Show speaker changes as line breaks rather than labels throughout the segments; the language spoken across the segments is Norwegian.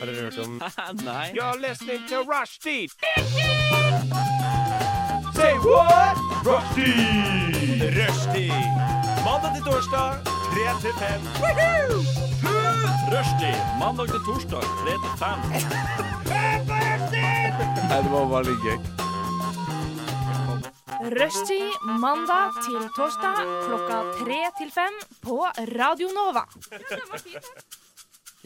Har dere hørt om
Nei.
You're listening to Rushdie. Say what? Rushdie. Rushdie. Mandag til torsdag, 3 til 5.
Rushdie. Mandag til torsdag, 3 til 5.
Nei, det var bare litt gøy.
Rushtid mandag til torsdag klokka tre til fem på Radio Nova.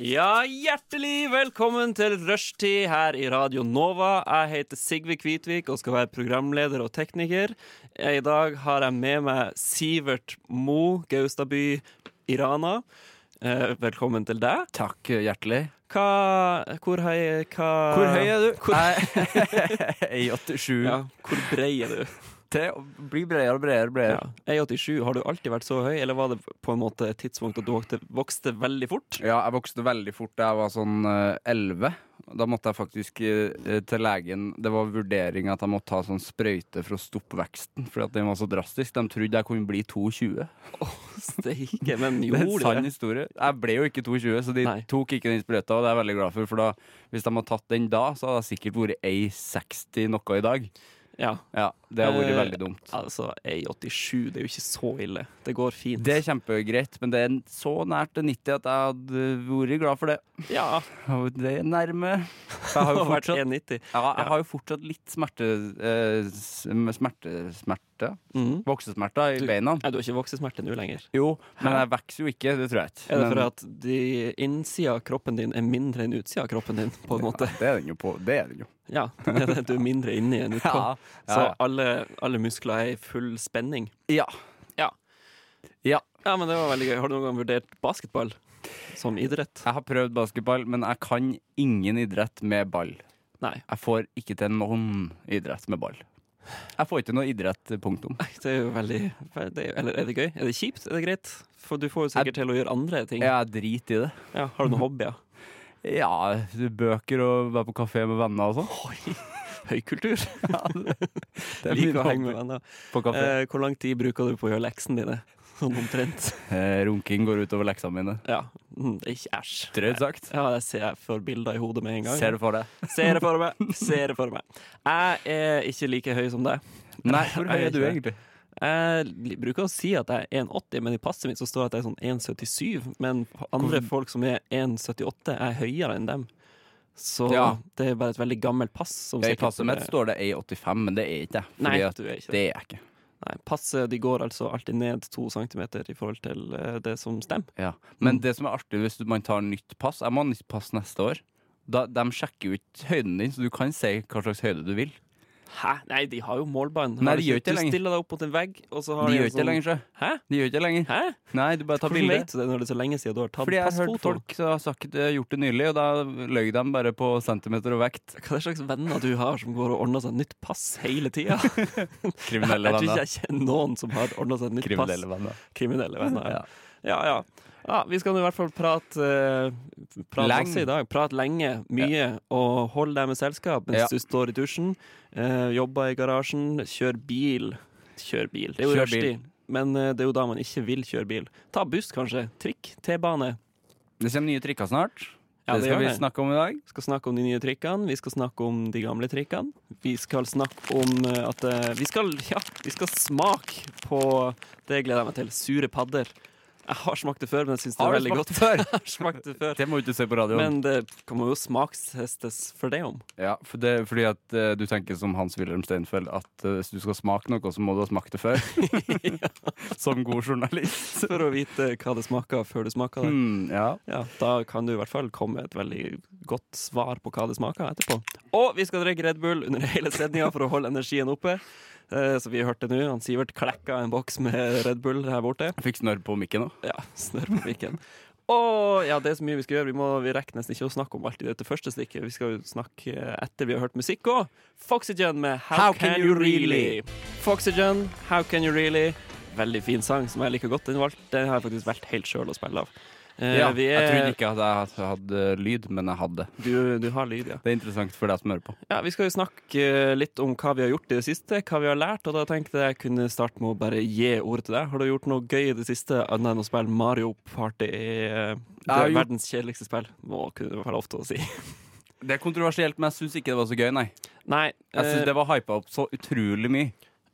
Ja, hjertelig velkommen til Rushtid her i Radio Nova. Jeg heter Sigve Kvitvik og skal være programleder og tekniker. I dag har jeg med meg Sivert Mo, Gaustadby, Irana. Eh, velkommen til deg.
Takk eh, hjertelig.
Hva Hvor høy hva,
Hvor høy er du?
Hvor,
Jeg er 87.
ja, hvor brei er du?
Til å bli bredere og bredere og
Ja.
bredere.
A87, har du alltid vært så høy, eller var det på en måte et tidspunkt at du vokste, vokste veldig fort?
Ja. jeg vokste veldig fort da jeg var sånn eh, 11. Da måtte jeg faktisk eh, til legen Det var vurdering at jeg måtte ha sånn sprøyte for å stoppe veksten, fordi at den var så drastisk. De trodde jeg kunne bli 22.
Steike, men
Det er en
gjorde
sann
det?
historie. Jeg ble jo ikke 22, så de
Nei.
tok ikke den sprøyta, og det er jeg veldig glad for, for da, hvis de hadde tatt den da, så hadde jeg sikkert vært A60 noe i dag.
Ja.
Ja, det hadde vært
Eh,
veldig dumt.
Altså, A87, det er jo ikke så ille. Det går fint.
Det er kjempegreit, men det er så nært til 90 at jeg hadde vært glad for det.
ja,
Og Det er nærme. For Jeg har jo
har vært
fortsatt,
1,90.
ja, jeg har jo fortsatt litt smerte, eh, s- smerte, smerte
Mhm.
Voksesmerter i
Du-
beina.
Nei, du har ikke voksesmerter nå lenger.
Jo, men jeg vokser jo ikke, det tror jeg ikke.
Er det
Men-
for at de innsida av kroppen din er mindre enn utsida av kroppen din, på en måte?
Ja, det er den jo på. Det er den jo.
Ja, det er det du er mindre inni enn utpå.
Ja, ja,
Så
ja.
alle, alle muskler er i full spenning.
Ja.
Ja.
Ja.
Ja, men det var veldig gøy. Har du noen gang vurdert basketball som idrett?
Jeg har prøvd basketball, men jeg kan ingen idrett med ball.
Nei.
Jeg får ikke til noen idrett med ball. Jeg får ikke noe idrett, punktum.
Nei, Det er jo veldig det er, Eller er det gøy? Er det kjipt? Er det greit? For du får jo sikkert til å gjøre andre ting.
Jeg driter i det.
Ja, har du noen hobbyer?
Ja, bøker og være på kafé med venner og sånn.
Oi, høykultur.
Det er min
Liker å henge med
hobby.
venner.
På kafé.
Eh, hvor lang tid bruker du på å gjøre leksene dine? Sånn omtrent.
Eh, runking går utover leksene mine.
Ja. Mm, Ikke æsj.
Drøyt sagt.
Ja, jeg ser jeg får bilder i hodet med en gang.
Ser du for deg?
Ser det for meg. Ser det for meg. Jeg er ikke like høy som deg.
Nei, hvor høy
Jeg
er du
ikke
egentlig?
Jeg li- bruker å si at jeg er 1,80, men i passet mitt så står det at jeg er sånn 1,77. Men andre folk som er 1,78, er høyere enn dem. Så
Ja.
det er bare et veldig gammelt pass. Som
I
sikkert-
passet mitt står det A85, men det er ikke jeg.
Nei,
Fordi at
du er ikke
det
det.
er jeg ikke.
Nei, passet de går altså alltid ned to centimeter i forhold til eh, det som stemmer.
Ja. Men
Mm.
det som er artig hvis du- man tar nytt pass Jeg må ha nytt pass neste år. Da, de sjekker jo ikke høyden din, så du kan si hva slags høyde du vil.
Hæ? Nei, de har jo målbånd.
Nei,
Har
de gjør ikke det
Du
lenger.
stiller deg opp mot en vegg, og så har
De
en
gjør ikke det
sånn-
lenger, sjø.
Hæ?
De gjør ikke det lenger.
Hæ?
Nei, du bare tar
Hvordan
bilde.
vet du det når det er så lenge siden du har tatt
Fordi jeg har hørt
passfoto?
folk som har sagt, eh, gjort det nylig, og da løy de bare på centimeter og vekt.
Hva er det slags venner du har som går og ordner seg nytt pass hele tida? Jeg
Kriminelle
tror ikke
venner.
jeg kjenner noen som har ordna seg nytt
Kriminelle
pass.
venner.
Kriminelle venner. Ja. Ja, ja. ja, vi skal nå i hvert fall prate, eh, prate
Lenge.
masse i dag. Prate lenge, mye, og hold deg med selskap mens
Ja.
du står i dusjen, eh, jobber i garasjen, kjør bil. Kjør bil. Det er jo
Kjør bil.
rushtid, men eh, det er jo da man ikke vil kjøre bil. Ta buss, kanskje. Trikk, T-bane.
Det kommer nye trikker snart.
Ja,
det
det
skal
gjør
vi
det.
snakke om i dag.
Vi skal snakke om de nye trikkene, vi skal snakke om de gamle trikkene. Vi skal snakke om eh, at eh, Vi skal, ja, vi skal smake på Det gleder jeg meg til. Sure padder. Jeg har smakt det før, men jeg syns det er
Har du
veldig
smakt
godt.
før?
Jeg har smakt det før.
Det må du ikke se på radioen.
Men det kan man jo smakstestes for det om.
ja, for det, fordi at eh, du tenker som Hans-Wilhelm Steinfeld, at eh, hvis du skal smake noe, så må du ha smakt det før. som god journalist.
For å vite hva det smaker før du smaker det.
Hmm, ja.
Ja, da kan du i hvert fall komme med et veldig godt svar på hva det smaker etterpå. Og vi skal drikke Red Bull under hele sendinga for å holde energien oppe. Eh, Så vi hørte nå, han Sivert klekka en boks med Red Bull her borte.
Jeg fikk snørr på mikken nå.
Ja, snørr på pikken. Og ja, det er så mye vi skal gjøre. Vi, må, vi rekker nesten ikke å snakke om alt i dette første stikket. Vi skal jo snakke etter vi har hørt musikk òg. Foxygen med How, Can, You Really? Foxygen, How Can You Really? Veldig fin sang som jeg liker godt. Den, valg- den har jeg faktisk valgt helt sjøl å spille av. Eh,
ja,
vi
Jeg
er,
trodde ikke at jeg hadde- hadde lyd, men jeg hadde.
du, du har lyd, ja.
Det er interessant for deg som hører på.
Ja, Vi skal jo snakke eh, litt om hva vi har gjort i det siste, hva vi har lært. Og da tenkte jeg jeg kunne starte med å bare gi ordet til deg. Har du gjort noe gøy i det siste annet enn å spille Mario Party? eh, Det
har
er
gjort-
verdens kjedeligste spill, må kunne være lov til å si.
Det er kontroversielt, men jeg syns ikke det var så gøy, nei.
Nei,
Jeg
eh,
synes det var hypa opp så utrolig mye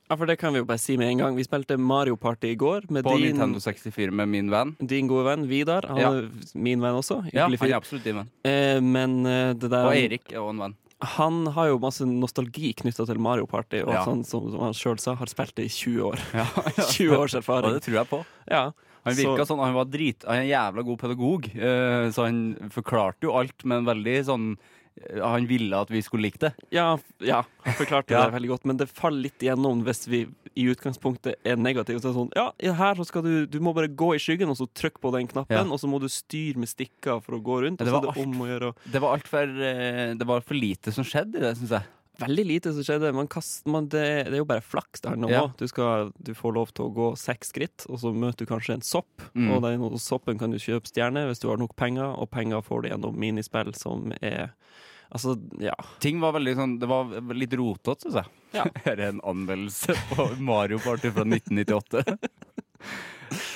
ja, for det kan vi jo bare si med en gang. Vi spilte Mario Party i går med
på
din,
Nintendo 64 med min venn.
din gode venn Vidar. Han
Ja.
er min venn også.
Ja,
Hyggelig
han er
fyr.
absolutt din venn. Um,
Eh, Men eh, det der
Og Erik er også en venn.
Han har jo masse nostalgi knytta til Mario Party, og
Ja.
sånn som, som han sjøl sa, har spilt det i 20 år.
Ja,
20 års
Og
erfaring.
det tror jeg på.
Ja.
Han virka sånn, han var drit, han er en jævla god pedagog, eh, så han forklarte jo alt, men veldig sånn eh, Han ville at vi skulle like det.
Ja, ja, han forklarte
Ja.
det veldig godt, men det faller litt igjennom hvis vi i utgangspunktet er negative. Så er det sånn, ja, i- her så skal du, du må bare gå i skyggen, og så trykk på den knappen,
Ja.
og så må du styre med stikker for å gå rundt.
Ja,
Og
det
så er
var
det om å gjøre. og-
Det var altfor uh, Det var for lite som skjedde i det, syns jeg.
Veldig lite som skjedde. Man kast, man, det, det er jo bare flaks det handler om
Ja.
òg. Du, skal- du får lov til å gå seks skritt, og så møter du kanskje en sopp.
Mm.
Og den og soppen kan du kjøpe stjerne hvis du har nok penger, og penger får du gjennom minispill som er Altså, ja.
Ting var veldig sånn Det var litt rotete, syns jeg.
Ja.
Her er en anmeldelse på Mario Party fra 1998.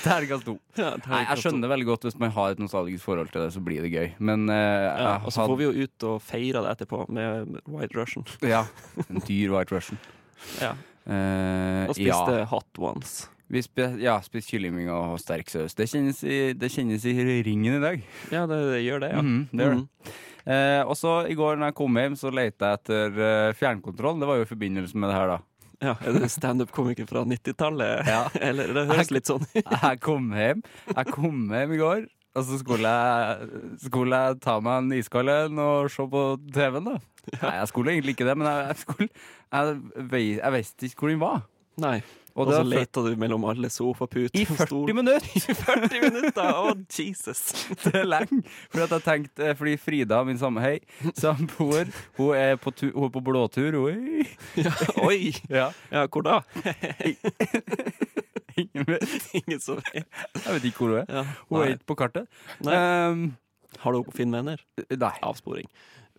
Terningkast to. Nei, jeg skjønner veldig godt hvis man har et nostalgisk forhold til det, så blir det gøy. Men eh,
Ja,
jeg
og så får vi jo ut og feire det etterpå med White Russian.
hadde- ja, en dyr White Russian.
Ja.
Eh, ja.
Og spiste hot ones.
Vi spe, ja, spist kyllingvinger og sterk saus. Det kjennes, i, det kjennes i ringen i dag.
Ja, det, det gjør det, ja.
Mhm, det gjør det.
Mhm.
Eh, og så i går når jeg kom hjem, så lette jeg etter eh, fjernkontroll. Det var jo i forbindelse med det her, da.
ja. Er det standup-komiker fra 90-tallet? Eller det høres litt sånn ut.
Jeg kom hjem Jeg kom hjem i går, og så skulle jeg, skulle jeg ta meg en iskald en og se på TV-en, da. Nei, jeg skulle egentlig ikke det, men jeg, jeg skulle Jeg, vei- jeg visste ikke hvor den var.
Nei.
Og
Og,
det
så
har ført-
leter du mellom alle sofaputer
I
og
40
stol.
minutter!
40 minutter! Å, Jesus!
Det er lenge. Fordi, at jeg tenkte, eh, fordi Frida, min samboer, samboer, hun er på, tu- hun er på blåtur. Oi.
Oi!
Ja.
Ja, hvor da?
Ingen vet.
Ingen som vet.
Jeg vet ikke hvor hun er.
Ja.
Hun er
Nei.
ikke på kartet.
Nei.
Ehm,
Har du Finn venner?
nei.
Avsporing.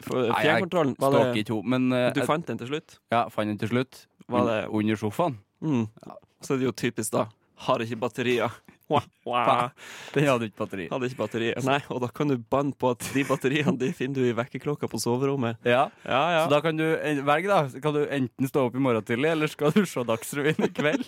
For
Nei, jeg
fjernkontrollen, var
Stalker
det
ikke hun, men eh,
Du fant den til slutt?
Ja, fant den til slutt.
Var
Un-
det-
Under sofaen.
Mm. Så er det jo typisk, da. Har ikke batterier. Wah, wah.
Den hadde ikke batteri.
Hadde ikke batterier. Nei, og da kan du banne på at de batteriene de finner du i vekkerklokka på soverommet.
Ja.
Ja, ja.
Så da kan du en- velge, da. Så Kan du enten stå opp i morgen tidlig, eller skal du se Dagsrevyen i kveld?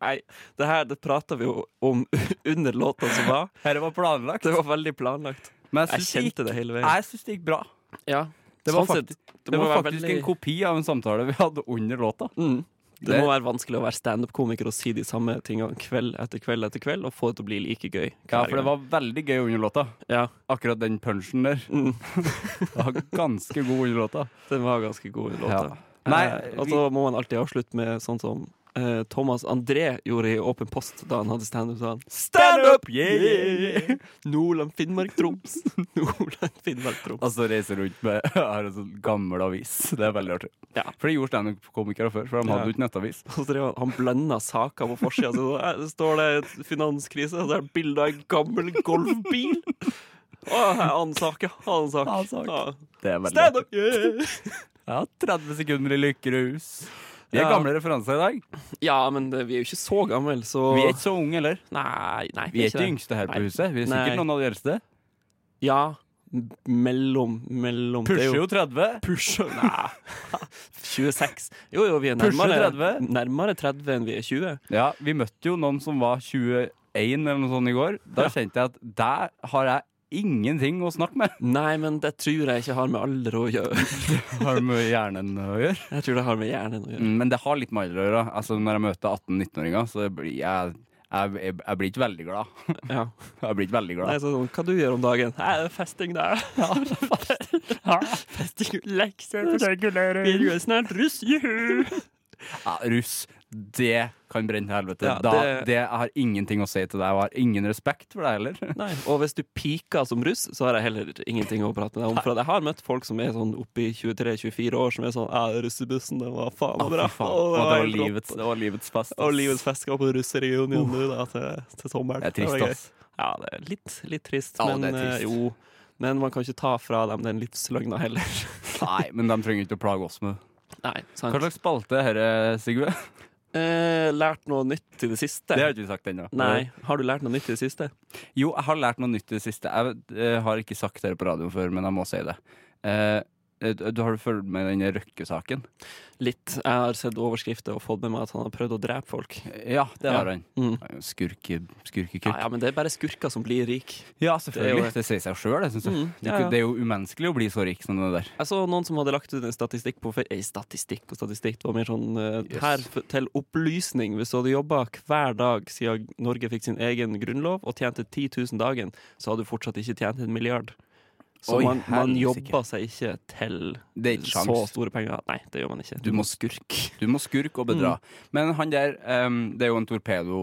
Nei, det her det prata vi jo om under låta som var.
Dette var planlagt.
Det var veldig planlagt.
Men
Jeg
synes det
kjente det hele
gikk-
veien.
jeg syns det gikk bra.
Ja,
Det var,
sånn sett,
faktisk,
det
det
må
var
være
faktisk
veldig-
en kopi av en samtale vi hadde under låta.
mm, det
Det-
må være vanskelig å være standup-komiker og si de samme tingene kveld etter kveld etter kveld og få det til å bli like gøy.
Ja, for
hver
det
gang.
var veldig gøy under låta.
ja,
Akkurat den punchen der.
Mm.
Det var ganske god under låta.
den var ganske god, den
Ja.
låta.
Nei,
eh, og
vi-
så må man alltid avslutte med sånn som eh, Thomas André gjorde i Åpen post da han hadde standup. sa han,
Stand up! Yeah, yeah, yeah.
Yeah. Nordland, Finnmark, Troms. Nordland, Finnmark, Troms.
Altså reise rundt med Jeg har en sånn gammel avis. Det er veldig artig.
Ja.
For det gjorde standup-komikere før, for de hadde
Ja.
jo ikke nettavis.
Og så drev han- han blanda saker på forsida. Så der, det står det finanskrise, og så er det bilde av en gammel golfbil. Å, her er annen sak, ja. Annen sak.
Annen sak.
Ja.
Det er veldig
Stand
artig.
up! Yeah.
Ja, 30 sekunder i lykkerus. Vi er
Ja.
gamle referanser i dag.
Ja, men det, vi er jo ikke så gamle, så
Vi er ikke så unge heller.
Nei, nei,
Vi er ikke de
det.
yngste her på
Nei.
huset. Vi er
Nei.
sikkert noen av de eldste.
Ja. m- Mellom, mellom det er
Pusher jo 30.
Pusher Nei. 26. Jo, jo, vi er
Pusher
nærmere
30.
nærmere 30 enn vi er 20.
Ja, vi møtte jo noen som var 21 eller noe sånt i går. Da kjente jeg at der har jeg ingenting å snakke med.
Nei, men det tror jeg ikke har med alder å gjøre.
Har det med hjernen å gjøre.
Jeg tror det har med hjernen å gjøre.
Mm, Men det har litt med alder å gjøre. Altså, når jeg møter 18-19-åringer, så blir jeg, jeg, jeg, jeg blir ikke veldig glad.
Ja.
Jeg blir ikke veldig glad.
Nei, sånn, hva du gjør om dagen? Nei, det er festing, det er. festing, lekser, vi er jo snart russ, juhu!
Ja, russ. det kan brenne til helvete.
Ja,
da,
det-
det har ingenting å si til deg, og har ingen respekt for deg heller.
Nei, Og hvis du piker som russ, så har jeg heller ingenting å prate med deg om. For at jeg har møtt folk som er sånn oppi 23-24 år, som er sånn Ja, russebussen, det var faen meg bra.
Fy faen.
Å,
Og det var
helt rått.
livets, det var livets fest. ass.
Og livets fest skal på russereunion nå, da, til, til sommeren.
Det er trist,
var gøy.
ass.
Ja, det er litt, litt trist,
Ja,
men
det er trist.
eh, jo. Men man kan ikke ta fra dem den livsløgna heller.
Nei, men de trenger ikke å plage oss med det.
Nei, sant.
Hva slags spalte er dette, Sigve?
Eh, lært noe nytt i det siste?
Det har ikke vi sagt ennå.
Nei. Har du lært noe nytt i det siste?
Jo, jeg har lært noe nytt i det siste. Jeg eh, har ikke sagt det på radio før, men jeg må si det. Eh, eh, du har du fulgt med i den Røkke-saken?
Litt. Jeg har sett overskrifter og fått med meg at han har prøvd å drepe folk.
Ja, det har
Ja.
han.
Mm.
Skurke, skurkekutt.
Ja, ja, men det er bare skurker som blir rik.
Ja,
Det er jo
selvfølgelig.
det.
Det sier seg sjøl, det syns jeg.
Mm,
Du
ja, ja.
kunne- Det er jo umenneskelig å bli så rik som det der.
Jeg så noen som hadde lagt ut en statistikk på Fe- eh, Statistikk og statistikk, det var mer sånn eh,
Yes.
Her f- til opplysning, hvis du hadde jobba hver dag siden Norge fikk sin egen grunnlov og tjente 10 000 dagen, så hadde du fortsatt ikke tjent en milliard. Så
Oi,
man, man
helsike.
jobber seg ikke til
Det er ikke
så
sjans.
store penger. Nei, det gjør man ikke.
Du må Mm. skurke. Mm. Du må skurke og bedra. Men han der, em, det er jo en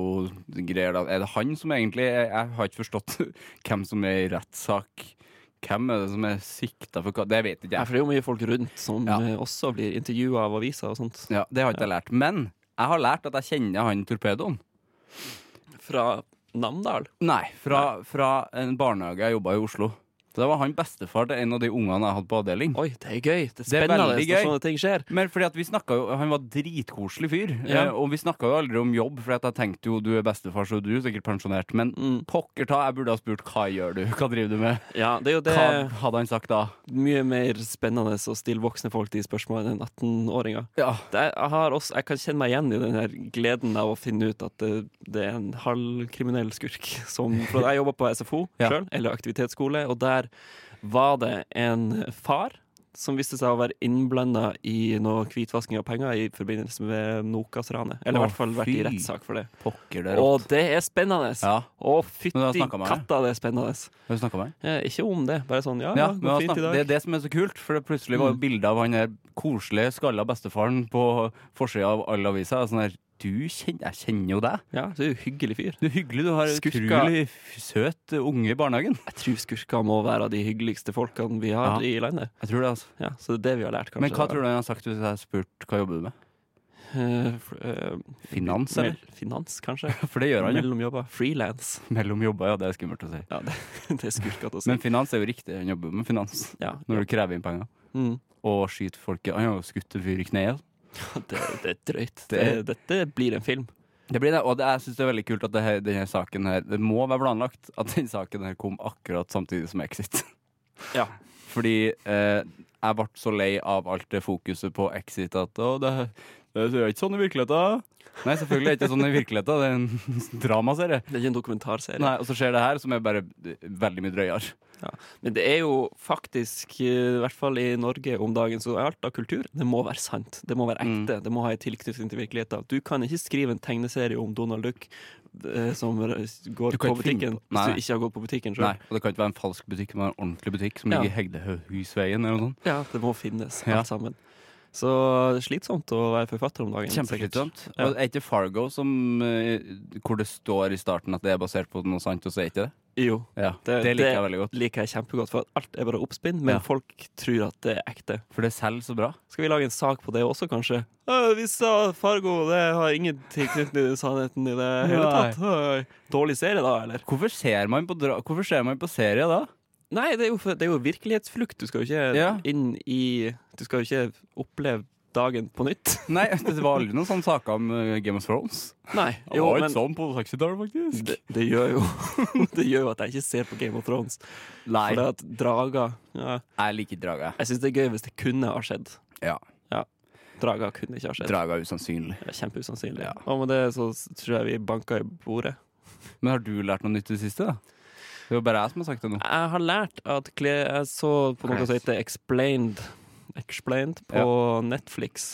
torpedo-greier da. Er det han som egentlig Jeg, jeg har ikke forstått hvem som er i rettssak. Hvem er det som er sikta for hva? Det vet ikke
Ja,
jeg.
for det er jo mye folk rundt som
Ja.
eh, også blir intervjua av aviser og sånt.
Ja, det har ikke jeg lært. Men jeg har lært at jeg kjenner han torpedoen.
Fra Namdal.
Nei, fra, fra en barnehage jeg jobba i Oslo. Så det var han bestefar til en av de ungene jeg hadde på avdeling.
Oi, det er gøy! Det er
Det er
spennende
veldig
når
gøy.
sånne ting skjer.
Men fordi at vi snakket jo Han var dritkoselig fyr.
Ja.
eh, Og vi snakka jo aldri om jobb, Fordi at jeg tenkte jo du er bestefar, så du er sikkert pensjonert. Men
Mm.
pokker ta, jeg burde ha spurt hva gjør du? Hva driver du med?
Ja, det er jo det.
Hva hadde han sagt da?
mye mer spennende å stille voksne folk de spørsmålene enn 18-åringer.
Ja.
Det- Jeg, har også- jeg kan kjenne meg igjen i den her gleden av å finne ut at det, det er en halvkriminell skurk. Som, for jeg jobber på SFO
Ja.
selv, eller aktivitetsskole, og der var det en far som viste seg å være innblanda i noe hvitvasking av penger i forbindelse med Nokas-ranet. Eller i
Å,
hvert fall vært i
fy.
rettssak for det.
Pokker det er
Og
rått.
det er spennende!
Ja,
Å,
Men da
fytti
snakker man, ja.
katta, det er spennende.
har du snakka med han?
Eh, ikke om det, bare sånn ja, ja,
Ja,
går
men han
fint i
snak-
dag.
det er det som er så kult, for det plutselig var jo bilde av han der koselige, skalla bestefaren på forsida av alle aviser. og Sånn der, du kjenner, jeg kjenner jo deg.
Ja, det er jo en hyggelig fyr.
Du er hyggelig, du har en
Skurka.
utrolig f- søt eh, unge i barnehagen.
Jeg tror skurker må være av de hyggeligste folkene vi
Ja.
har i landet.
Jeg tror det, altså.
Ja, så det er det vi har lært, kanskje.
Men hva tror du han har sagt hvis jeg har spurt hva jobber du med?
Eh,
Finans, eller?
Finans, kanskje.
For det gjør han jo.
Mellom jobber. Frilans.
Mellom jobber, ja. Det er skummelt å si.
Ja, det, det er skurkete å si.
Men finans er jo riktig. Han jobber med finans
ja.
når du krever inn penger.
Mm.
Og skyter folket. Han har jo skutt en fyr i kneet.
Det, det er drøyt. Det,
Det-
dette blir en film.
Det blir det, og det, jeg synes det er veldig kult at det her, denne saken her Det må være planlagt at denne saken her kom akkurat samtidig som Exit.
Ja.
Fordi eh, jeg ble så lei av alt det fokuset på Exit at å, det, det er jo ikke sånn i virkeligheten. Nei, selvfølgelig er det ikke sånn i virkeligheten. Det er en dramaserie.
Det er ikke en dokumentarserie.
Nei, Og så skjer det her, som er bare veldig mye drøyere.
Men det er jo faktisk, eh, i hvert fall i Norge om dagen, så alt av kultur, det må være sant. Det må være
Mm.
ekte. Det må ha en tilknytning til virkeligheten. Du kan ikke skrive en tegneserie om Donald Duck eh, som r-
Du
går
kan
på
ikke finne
butikken,
på- Nei,
hvis
nei.
du ikke har gått på butikken
Nei,
sjøl.
Og det kan ikke være en falsk butikk, men en ordentlig butikk som
Ja.
ligger i Hegdehusveien eller noe sånt.
Ja, det må finnes,
Ja.
alt sammen. Så det er slitsomt å være forfatter om dagen. sikkert.
Kjempeslitsomt.
Ja.
Og er ikke Fargo som eh, Hvor det står i starten at det er basert på noe sant, og så er ikke det?
Jo.
Ja,
Det-
det, liker jeg veldig godt.
Liker jeg kjempegodt, for at alt er bare oppspinn, men
Ja.
folk tror at det er ekte.
For det selger så bra.
Skal vi lage en sak på det også, kanskje? «Å, vi sa Fargo, det har ingen tilknytning til sannheten i det hele
Nei.
tatt. Oi. Dårlig serie, da, eller?
Hvorfor ser man på, dra hvorfor ser man på serie da?
Nei, det er jo, for- det er jo virkelighetsflukt. Du skal jo ikke
Ja.
inn i Du skal jo ikke oppleve dagen på nytt.
Nei, det var aldri noen sånne saker om eh, Game of Thrones.
Nei.
Det
Jo,
var
men
ikke sånn på 60-tallet, faktisk.
det, det gjør jo Det gjør jo at jeg ikke ser på Game of Thrones.
Nei,
For det at drager ja.
jeg liker Draga.
Jeg syns det er gøy hvis det kunne ha skjedd.
Ja.
Drager kunne ikke ha skjedd.
Draga er usannsynlig.
Det er Kjempeusannsynlig.
Ja.
Og med det så s- tror jeg vi banka i bordet.
Men har du lært noe nytt i det siste, da? Det er jo bare jeg som har sagt det nå.
Jeg har lært at kle Jeg så på noe
Nice.
som heter Explained, Explained på Netflix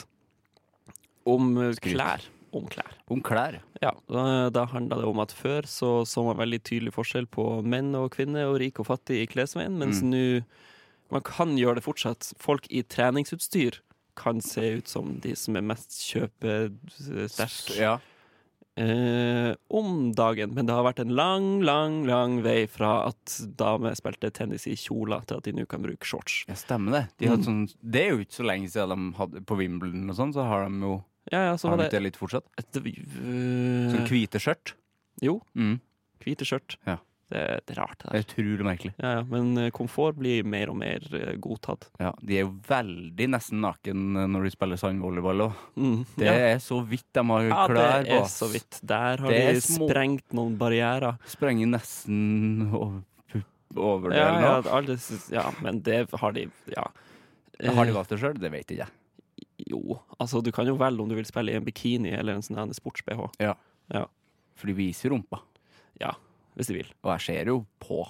om eh,
Skryt.
klær. Om klær.
Om klær.
Ja, da, da handla det om at før så så man veldig tydelig forskjell på menn og kvinner og rik og
Mm.
fattig i klesveien, mens nå Man kan gjøre det fortsatt. Folk i treningsutstyr kan se ut som de som er mest kjøpesterke
Ja.
eh, om dagen. Men det har vært en lang, lang lang vei fra at damer spilte tennis i kjoler, til at de nå kan bruke shorts.
ja, stemmer det. De
Mm.
hadde sånn, det er jo ikke så lenge siden de hadde på Wimbledon og sånn, så har de jo
Ja, ja, så
har de
var
ikke det
det
litt fortsatt.
et,
Sånn
øh,
hvite skjørt.
Jo,
Mm.
hvite skjørt.
Ja.
Det, er- det er rart,
Det
det der.
er utrolig merkelig.
Ja, ja, men eh, komfort blir mer og mer eh, godtatt.
Ja, de er jo veldig nesten naken eh, når de spiller sandvolleyball òg.
Mm.
Det
ja.
er så vidt de har
Ja,
klær på.
det er
ass.
så vidt. Der har
Det er
de
små-
sprengt noen barrierer.
Sprenger nesten over, pupp- over det,
Ja,
eller
ja,
noe.
alle synes- ja, men det har de Ja.
Har de valgt det sjøl? Det vet ikke jeg.
Eh, Jo, altså du kan jo velge om du vil spille i en bikini eller en sånn her sports-BH,
For de viser rumpa.
hvis de vil.
Og jeg ser jo på.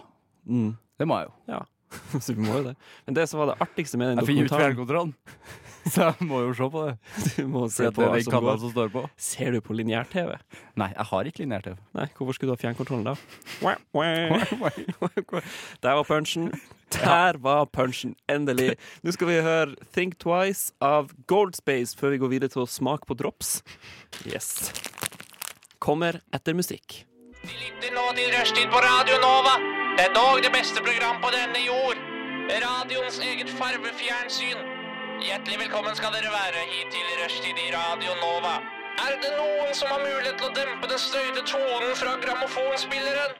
Mm.
Det må jeg jo.
Så vi må jo det. Men det som var det artigste med den
Jeg finner ut
dokumentaren
fjernkontrollen, så jeg må jo se på det.
Du må
Se
se på hva
den
som
kanalen
går.
som står på.
Ser du på lineær-TV?
Nei, jeg har ikke linjær-TV.
Nei, hvorfor skulle du ha fjernkontrollen da? Wah, wah. Der var punchen. Der var punchen, endelig. Nå skal vi høre Think Twice av Goldspace før vi går videre til å smake på drops. Yes. Kommer etter musikk.
lytter nå til Rushtid på Radio Nova. Det er dog det beste program på denne jord. Radioens eget farvefjernsyn. Hjertelig velkommen skal dere være hit til Rushtid i Radio Nova. Er det noen som har mulighet til å dempe den støyte tonen fra grammofonspilleren?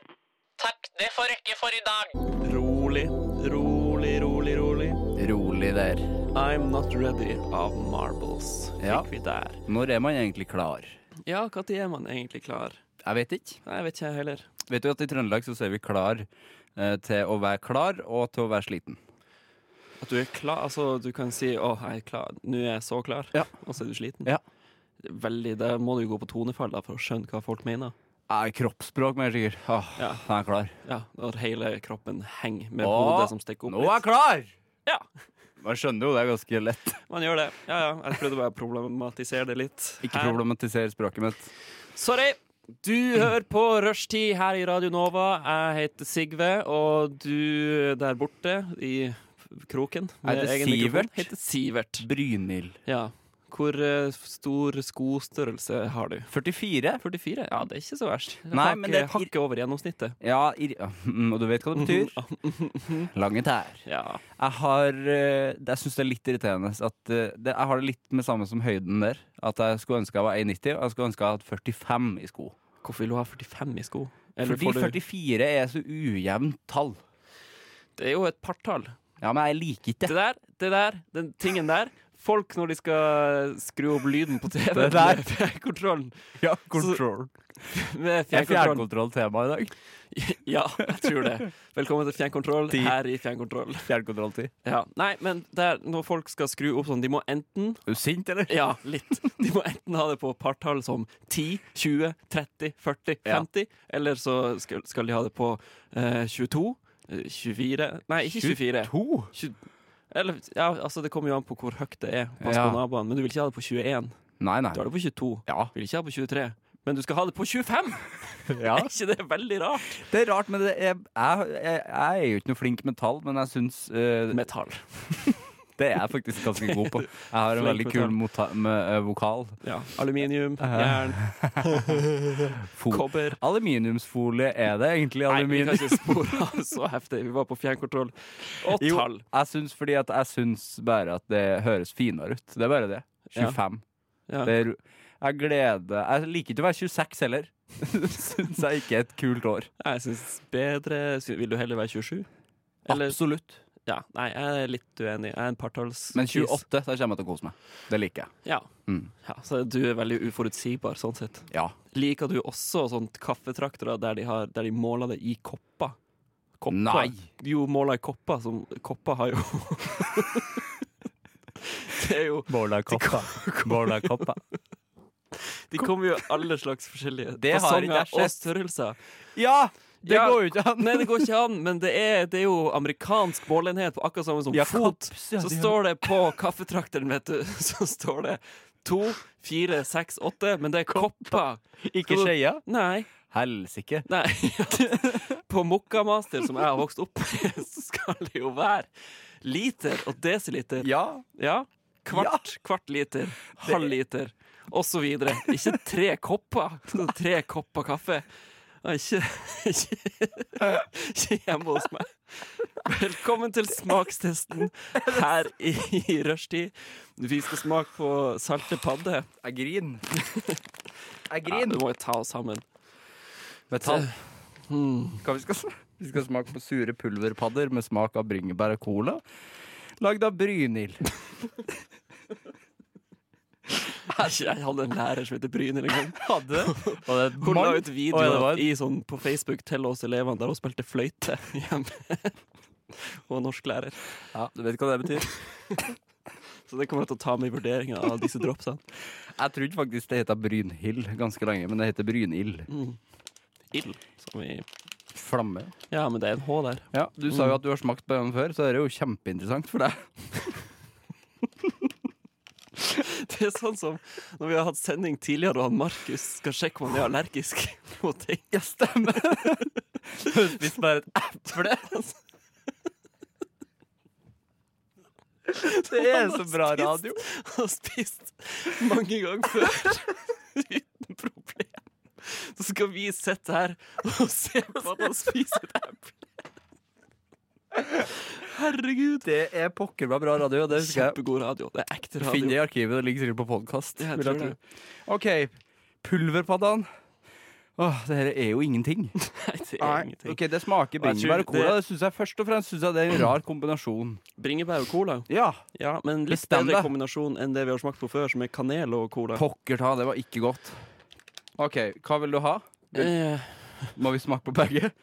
Takk, det får rekke for i dag.
Rolig, rolig, rolig, rolig.
Rolig der.
I'm Not Ready av Marbles. Fikk
Ja.
vi der.
Når er man egentlig klar?
Ja, når er man egentlig klar?
Jeg vet ikke.
Nei, jeg vet ikke jeg heller.
Vet du at i Trøndelag så ser vi klar eh, til å være klar og til å være sliten.
At du er klar, altså du kan si 'Å, jeg er klar, nå er jeg så klar',
Ja.
og så er du sliten.
Ja.
Veldig, Der må du jo gå på tonefall da, for å skjønne hva folk mener.
Eh, kroppsspråk, mer sikkert. Åh,
Ja.
Jeg er klar.
Ja, Når hele kroppen henger med
Å,
hodet som stikker opp
Nå er jeg
litt.
klar!
Ja,
Man skjønner jo det er ganske lett.
man gjør det. Ja, ja, Jeg prøvde bare å problematisere det litt.
Ikke
her.
problematisere språket mitt.
Sorry! Du hører på Rushtid her i Radio Nova. Jeg heter Sigve, og du der borte i kroken med
heter
egen mikrofon,
Sivert.
heter Sivert.
Brynhild.
Ja. Hvor eh, stor skostørrelse har du?
44.
44? Ja, det er ikke så verst.
Nei, men det er et ir-
Hakket over gjennomsnittet.
Ja, ir mm, og du vet hva det betyr? Lange tær.
Ja.
Mhm. Jeg har eh, Jeg syns det er litt irriterende at eh, det, Jeg har det litt med samme som høyden der. At jeg skulle ønske jeg var 1,90, og jeg skulle ønske jeg hadde 45 i sko.
Hvorfor vil du ha 45 i sko? Eller
Fordi
får du...
44 er så ujevnt tall.
Det er jo et partall.
Ja, men jeg liker ikke
Det
det.
der, det der, den tingen der. Folk når de skal skru opp lyden på TV
Det der.
med fjernkontrollen.
Ja,
control. Med
Det er
fjernkontrollen.
fjernkontrolltema i dag.
Ja, jeg tror det. Velkommen til Fjernkontroll
Ti.
her i Fjernkontroll.
Fjernkontrolltid.
Ja. Nei, men der, når folk skal skru opp sånn, de må enten
Er du sint, eller?
Ja, litt. De må enten ha det på partall som 10, 20, 30, 40,
Ja.
50, eller så skal, skal de ha det på eh, 22, eh, 24 Nei, ikke 24.
To?
Tju- Eller, ja, altså Det kommer jo an på hvor høyt det er. Pass
Ja.
på naboene. Men du vil ikke ha det på 21.
Nei, nei.
Du har det på 22.
Ja.
Du vil ikke ha det på 23. Men du skal ha det på 25!
ja.
Er ikke det veldig rart?
Det er rart, men det er, jeg, jeg, jeg er jo ikke noe flink med tall, men jeg syns eh,
Med tall.
det er jeg faktisk ganske god på. Jeg har en
Flink
veldig
med
kul
tall.
mota- med, eh, vokal.
Ja. Aluminium, jern,
Fo
kobber
Aluminiumsfolie er det egentlig.
Nei, vi kan
Aluminium.
ikke spore av så heftig. Vi var på fjernkontroll. Og
Jo,
tall.
jeg syns fordi at jeg syns bare at det høres finere ut. Det er bare det. 25.
Ja.
Det er, jeg gleder Jeg liker ikke å være 26 heller. syns jeg ikke er et kult år.
Jeg syns bedre sy- Vil du heller være 27? Eller-
Absolutt.
Ja, nei, jeg er litt uenig. Jeg er en partals...
Men 28, da kommer jeg til å kose meg. Det liker jeg.
Ja.
Mm.
ja. Så du er veldig uforutsigbar sånn sett.
Ja.
Liker du også sånt kaffetraktere der de, har, der de måler det i kopper? kopper?
Nei.
Jo, måler i kopper. Som, kopper har jo Det er jo
Bårdagkoppa. Bårdagkoppa.
De kommer jo i alle slags forskjellige
Det har ikke jeg
fasonger og
sett.
størrelser.
Ja! Det
Ja.
går jo ikke an.
Nei, det går ikke an, men det er, det er jo amerikansk målenhet på akkurat samme som
Ja,
fot.
kaps, ja,
så
det er-
står det på kaffetrakteren, vet du, så står det to, fire, seks, åtte, men det er kopper.
Ikke skeia.
Nei.
Helsike.
nei. På Mokkamaster, som jeg har vokst opp med, så skal det jo være liter og desiliter.
Ja.
Ja. Kvart, kvart liter, halv liter, osv. Ikke tre kopper. Så Tre kopper kaffe. Og Ikke, ikke, ikke hjemme hos meg. Velkommen til smakstesten her i, i rushtid. Vi skal smake på salte padde.
Jeg griner. Jeg
Ja, du må jo ta oss sammen.
Vet du hva vi skal smake? Vi skal smake på sure pulverpadder med smak av bringebær og cola. Lagd av Brynhild.
Jeg jeg hadde en lærer som heter Brynhild en gang.
Hadde Og det er
Hun la ut
Oi, det
videoer
var-
i, sånn, på Facebook til oss elevene der hun spilte fløyte hjemme. Hun var norsklærer.
Ja, du vet hva det betyr?
Så det kommer jeg til å ta med i vurderinga av disse dropsene.
Jeg trodde faktisk det heter Brynhild ganske lenge, men det heter Brynhild.
Ild. Som i
Flamme.
Ja, men det er en H der.
Ja, Mm. Du sa jo at du har smakt på den før, så det er jo kjempeinteressant for deg.
Det er sånn som når vi har hatt sending tidligere, og han Markus skal sjekke om han er allergisk mot ting.
Ja, stemmer. Hvis bare et eple. Det er så bra radio.
Han har spist mange ganger før uten problem. Så skal vi sitte her og se på at han spiser et eple. Herregud.
Det er pokker meg bra radio, og det husker jeg.
Kjempegod radio. Det er ekte radio.
Finn det i arkivet, det ligger sikkert på podkast.
Ja, jeg tror det.
OK, pulverpaddan. Åh, det her er jo ingenting.
Nei, det er ingenting.
Ok, Det smaker
Og jeg tror
bringebær og cola.
det-
Det synes jeg Først og fremst synes jeg det er en rar kombinasjon.
Bringebær og cola.
Ja,
Ja, men litt
Bestem
bedre
deg.
kombinasjon enn det vi har smakt på før, som er kanel og cola.
pokker ta, det var ikke godt. OK, hva vil du ha?
Eh,
Må vi smake på begge?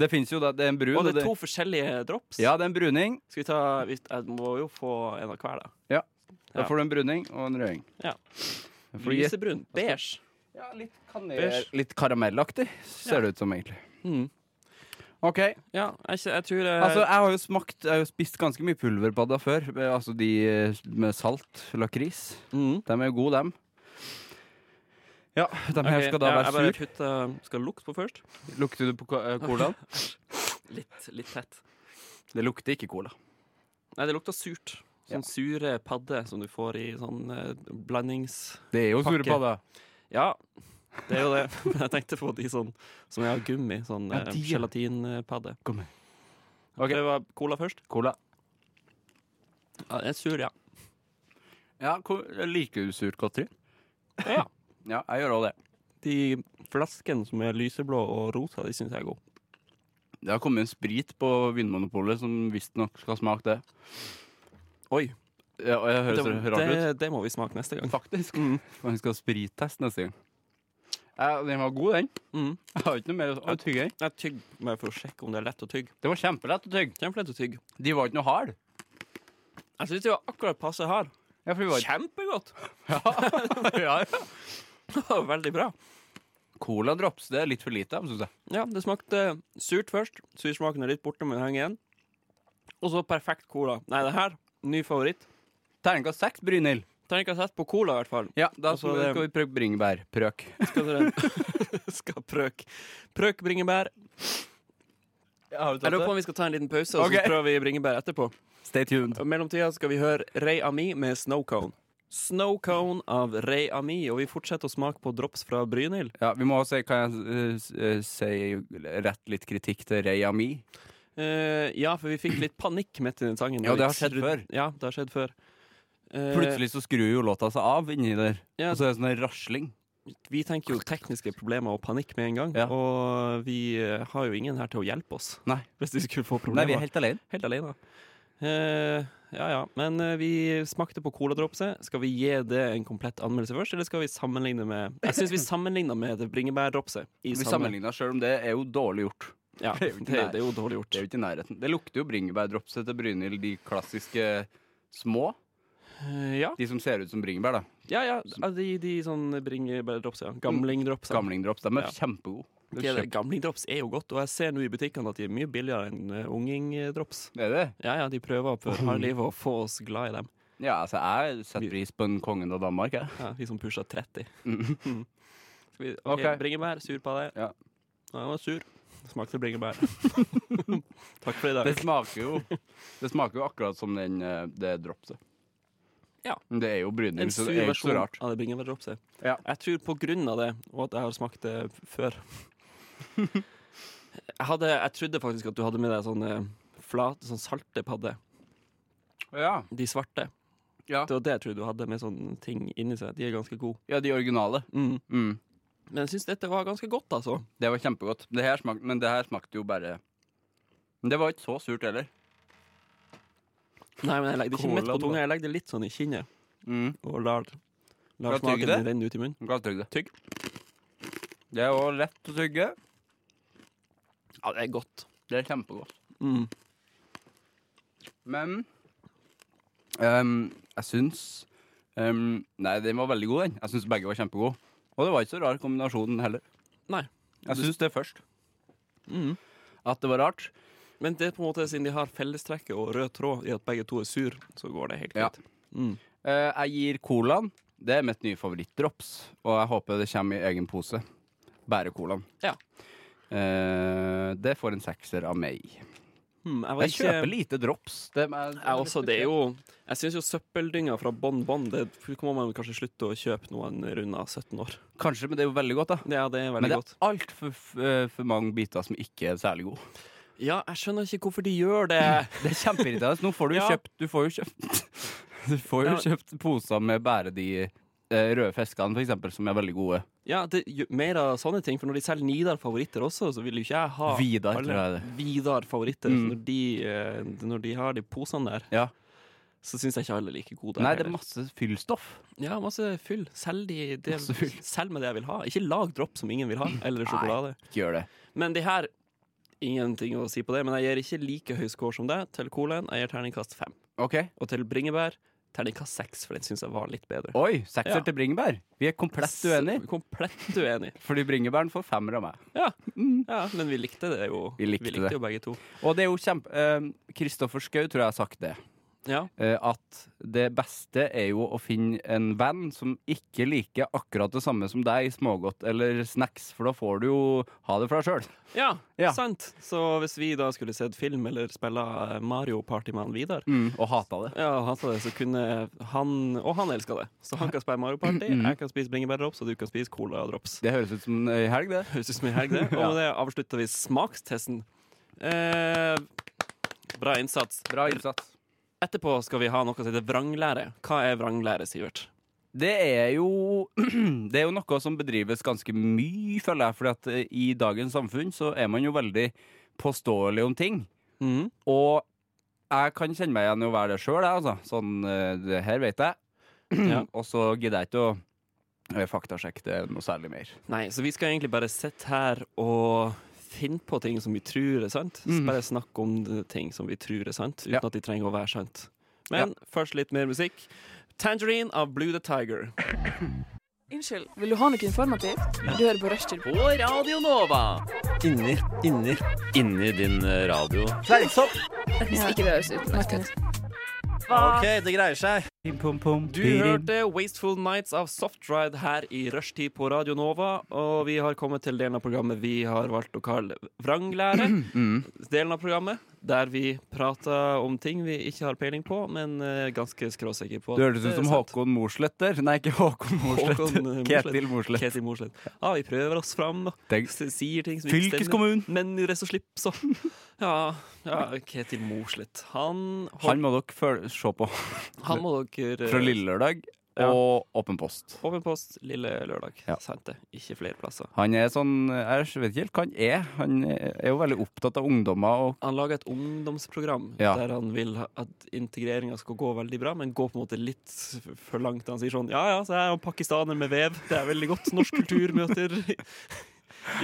Det fins jo, det. Det er en brun.
og
og
det er to forskjellige drops.
Ja, det er en bruning.
Skal vi ta vi- Jeg må jo få en av hver, da.
Da
Ja.
får du en bruning og en røding.
Ja.
Da får du gi-
Lysebrun. Beige.
Ja, litt kanel.
Beige.
Litt karamellaktig, ser det ut som, egentlig.
Mm. Eh.
OK.
Ja, jeg, ikke- jeg tror eh,
Altså, jeg har jo smakt Jeg har jo spist ganske mye pulverpadda før. eh, Altså de eh, med salt, lakris.
mm.
De er jo gode, dem. Ja, de her
Ok,
skal da
ja, jeg
være
bare
sur.
putter- Skal lukte på først?
Lukter du på ko- eh, colaen?
Litt, litt tett.
Det lukter ikke cola.
Nei, det lukter surt. Sånn sure padde som du får i sånn eh, blandings...
Det er jo sure
Pakke.
padder.
Ja, det er jo det. Men jeg tenkte på de sånn som jeg har gummi. Sånn
Ja,
eh,
de, ja.
gelatinpadde.
Kom her.
Ok, Det var cola først.
Cola.
Ja, jeg er sur, ja.
Ja, ko- liker du surt godteri?
Ja.
Ja, jeg gjør òg det.
De flaskene som er lyseblå og rosa, de syns jeg er gode.
Det har kommet en sprit på Vinmonopolet som visstnok skal smake det.
Oi,
Ja, og jeg høres
det,
rart
det, det må vi smake neste gang.
ut. Faktisk. Man skal ha sprittest neste gang. Ja, den var god, den.
Mm.
Jeg har ikke noe mer å å tygge i.
Jeg tygger meg for å sjekke om det er lett å tygge.
Det var kjempelett å tygge.
Kjempelett å tygge.
De var ikke noe hard.
Jeg syns de var akkurat passe hard.
Ja, for de var
Kjempegodt!
ikke ja, ja.
Veldig bra.
Cola drops, det er litt for lite av, syns jeg.
Ja, det smakte surt først. Sursmaken er litt borte, men henger igjen. Og så perfekt cola. Nei, det her, ny favoritt.
Terningkast seks, Brynhild.
Terningkast sett på cola, i hvert fall.
Ja, da
Og så
skal
det-
vi prøve bringebærprøk.
Skal dere Skal prøk. Prøk bringebær. Jeg lurer på om vi skal ta en liten pause, og
Ok.
så prøver vi bringebær etterpå.
Stay tuned.
I mellomtida skal vi høre Ray Ami med Snowcone. Snowcone av Ray Ami, og vi fortsetter å smake på drops fra Brynhild.
Ja, vi må også si, kan jeg eh, s- eh, si rett litt kritikk til Reyami?
Eh, ja, for vi fikk litt panikk midt i den sangen.
Ja, det har
Vi
skjedd
trodde-
før.
Ja, det har skjedd før. Eh,
Plutselig så skrur jo låta seg av inni der,
Ja.
og så er det sånn en rasling.
Vi tenker jo tekniske problemer og panikk med en gang,
Ja.
og vi eh, har jo ingen her til å hjelpe oss
Nei.
hvis vi skulle få
Nei,
problemer.
vi er helt alene.
Helt alene. Eh, ja, ja. Men eh, vi smakte på coladropset. Skal vi gi det en komplett anmeldelse først, eller skal vi sammenligne med Jeg syns vi sammenligna med det bringebærdropset. i
Vi
samme-
sammenligner sjøl om det er jo dårlig gjort.
Ja,
Det er jo
det,
ikke
det er
nær.
jo dårlig
Det er
gjort.
jo ikke i nærheten. Det lukter jo bringebærdropset til Brynhild, de klassiske små.
Eh, ja,
De som ser ut som bringebær, da.
ja. ja. ja, De, de sånn bringebærdropset. Ja. Gamlingdropset.
Gamlingdrops. De er
Ja.
kjempegode. Du
Det er det.
kjøper-
Gamlingdrops er jo godt, og jeg ser nå i butikkene at de er mye billigere enn eh, ungingdrops.
Det er det.
Ja, ja, de prøver for harde livet å få oss glad i dem.
Ja, altså, jeg setter pris på en kongen av Danmark, jeg.
Ja, vi som pusha 30. Skal vi, ok,
Mm. Ok.
Bringebær, sur på deg.
Ja.
Ja, den var sur. Smakte bringebær. Takk for i dag.
Det smaker jo Det smaker jo akkurat som den, eh, det dropset.
Ja.
Men Det er jo bryning,
En
så
sur
det er jo ikke
versjon
så rart.
av det bringebærdropset.
Ja.
Jeg tror på grunn av det, og at jeg har smakt det f- før. jeg, hadde, jeg trodde faktisk at du hadde med deg sånne flate, sånn salte padder.
Ja.
De svarte.
Ja.
Det var det jeg trodde du hadde med sånne ting inni seg. De er ganske gode.
ja, de originale.
Mm.
Mm.
Men jeg syns dette var ganske godt, altså.
Det var kjempegodt. Det her smak, men det her smakte jo bare Men det var ikke så surt heller.
Nei, men jeg legger det ikke
Cola,
midt på
da.
tunga, jeg legger det litt sånn i kinnet.
Mm.
Og lar,
Ja,
lar
tygg
smaken
det.
renne ut i munnen.
Hva tygg det? Tygg. Det er jo lett å tygge.
Ja, det er godt.
Det er kjempegodt.
Mm.
Men ehm, jeg syns ehm, Nei, den var veldig god, den. Jeg syns begge var kjempegode. Og det var ikke så rar kombinasjonen heller.
Nei.
Jeg syns det først.
Mm.
At det var rart.
Men det er på en måte siden de har fellestrekket og rød tråd i at begge to er sur, så går det helt
Ja.
greit. Mm.
Eh, jeg gir colaen. Det er mitt nye favorittdrops, og jeg håper det kommer i egen pose. Bare colaen.
Ja.
Eh, det får en sekser av meg.
Hmm, jeg var
Jeg
ikke
kjøper lite drops. Det er,
jeg også, det er jo Jeg syns jo søppeldynga fra Bon Bon Det må man kanskje slutte å kjøpe når man runder 17 år.
Kanskje, men det er jo veldig godt, da.
Ja, det er
Men
veldig
det
godt.
er altfor for mange biter som ikke er særlig gode.
Ja, jeg skjønner ikke hvorfor de gjør det.
Det er kjempeirriterende. Nå får du jo
Ja.
kjøpt Du får jo kjøpt Du får jo kjøpt poser med bare de eh, røde fiskene, for eksempel, som er veldig gode.
Ja, det, jo, mer av sånne ting, for når de selger Nidar-favoritter også, så vil jo ikke jeg ha
Vidar,
alle
tror jeg det.
Vidar-favoritter.
Mm.
så Når, de, eh, når de har de posene der,
Ja.
så syns jeg ikke alle er like gode.
Nei, det er
heller.
masse fyllstoff.
ja, masse fyll. Selg de det,
Masse fyll. Mm.
Selg meg det jeg vil ha. Ikke lag dropp som ingen vil ha, eller sjokolade.
Ikke gjør det.
Men de her Ingenting å si på det, men jeg gir ikke like høy score som deg til colaen. Jeg gir terningkast fem.
OK.
Og til bringebær terningkast seks, for den syns jeg var litt bedre.
Oi, sekser
Ja.
til bringebær. Vi er komplett uenige.
Så Komplett uenig.
Fordi bringebæren får femmer av meg.
Ja. ja, men vi likte det jo.
Mm. Vi likte det.
jo begge to.
Og det er jo kjempe... eh, Kristoffer Schou tror jeg har sagt det.
Ja.
eh, at det beste er jo å finne en venn som ikke liker akkurat det samme som deg i smågodt eller snacks, for da får du jo ha det for deg sjøl.
Ja,
Ja.
sant. Så hvis vi da skulle sett film eller spille eh, Mario Party med han Vidar
Og hata det.
ja, og hata det, så kunne han Og han elska det. Så han kan spille Mario Party,
Mm.
jeg kan spise bringebærdrops, og du kan spise cola og drops.
Det høres ut som ei helg, det.
Høres ut som en helg, det. Og med det avslutter vi smakstesten. Eh, bra innsats.
Bra innsats.
Etterpå skal vi ha noe som heter vranglære. Hva er vranglære, Sivert?
Det er jo Det er jo noe som bedrives ganske mye, føler jeg, fordi at eh, i dagens samfunn så er man jo veldig påståelig om ting.
Mhm.
Og jeg kan kjenne meg igjen i å være det sjøl, altså. Sånn, eh, det her vet jeg.
Ja.
Og så gidder jeg ikke å eh, faktasjekke det noe særlig mer.
Nei, så vi skal egentlig bare sitte her og finne på ting som vi tror er sant. Så Bare snakke om de ting som vi tror er sant, uten
Mhm. Ja.
at de trenger å være sant. Men først litt mer musikk. Tangerine av Blue the Tiger.
Unnskyld, vil du ha noe informativt? Du hører på Rushtid.
Inni, inni, inni din eh, radio.
Fleinsopp!
Ikke det høres ut. Merkelig.
OK, det greier seg.
Du hørte Wasteful Nights av Softride her i rushtid på Radio Nova. Og vi har kommet til delen av programmet vi har valgt å kalle Vranglære.
Mm.
Delen av programmet der vi prater om ting vi ikke har peiling på, men eh, ganske skråsikre på.
Du
at
hørtes
det
ut
er
som
sant.
Håkon Morsleth der. Nei, ikke Håkon Morsleth.
Håkon, eh,
Ketil Morsleth.
Ketil Morsleth. Ja, vi prøver oss fram. da.
Tenk-
S- Sier ting som ikke stemmer.
Fylkeskommunen!
Men gjør det så slipp, så. Ja, ja Ketil Morsleth. Han,
Han må dere føl- se på
han må dere eh,
fra Lille Lørdag
Ja.
og Åpen post.
Åpen post lille lørdag.
Ja.
Sant det. Ikke flere plasser.
Han er sånn Jeg vet ikke helt hva han er. Han er jo veldig opptatt av ungdommer og
Han lager et ungdomsprogram
Ja.
der han vil ha- at integreringa skal gå veldig bra, men gå på en måte litt f- for langt. Han sier sånn Ja ja, så er jeg jo pakistaner med vev. Det er veldig godt. Norsk kultur møter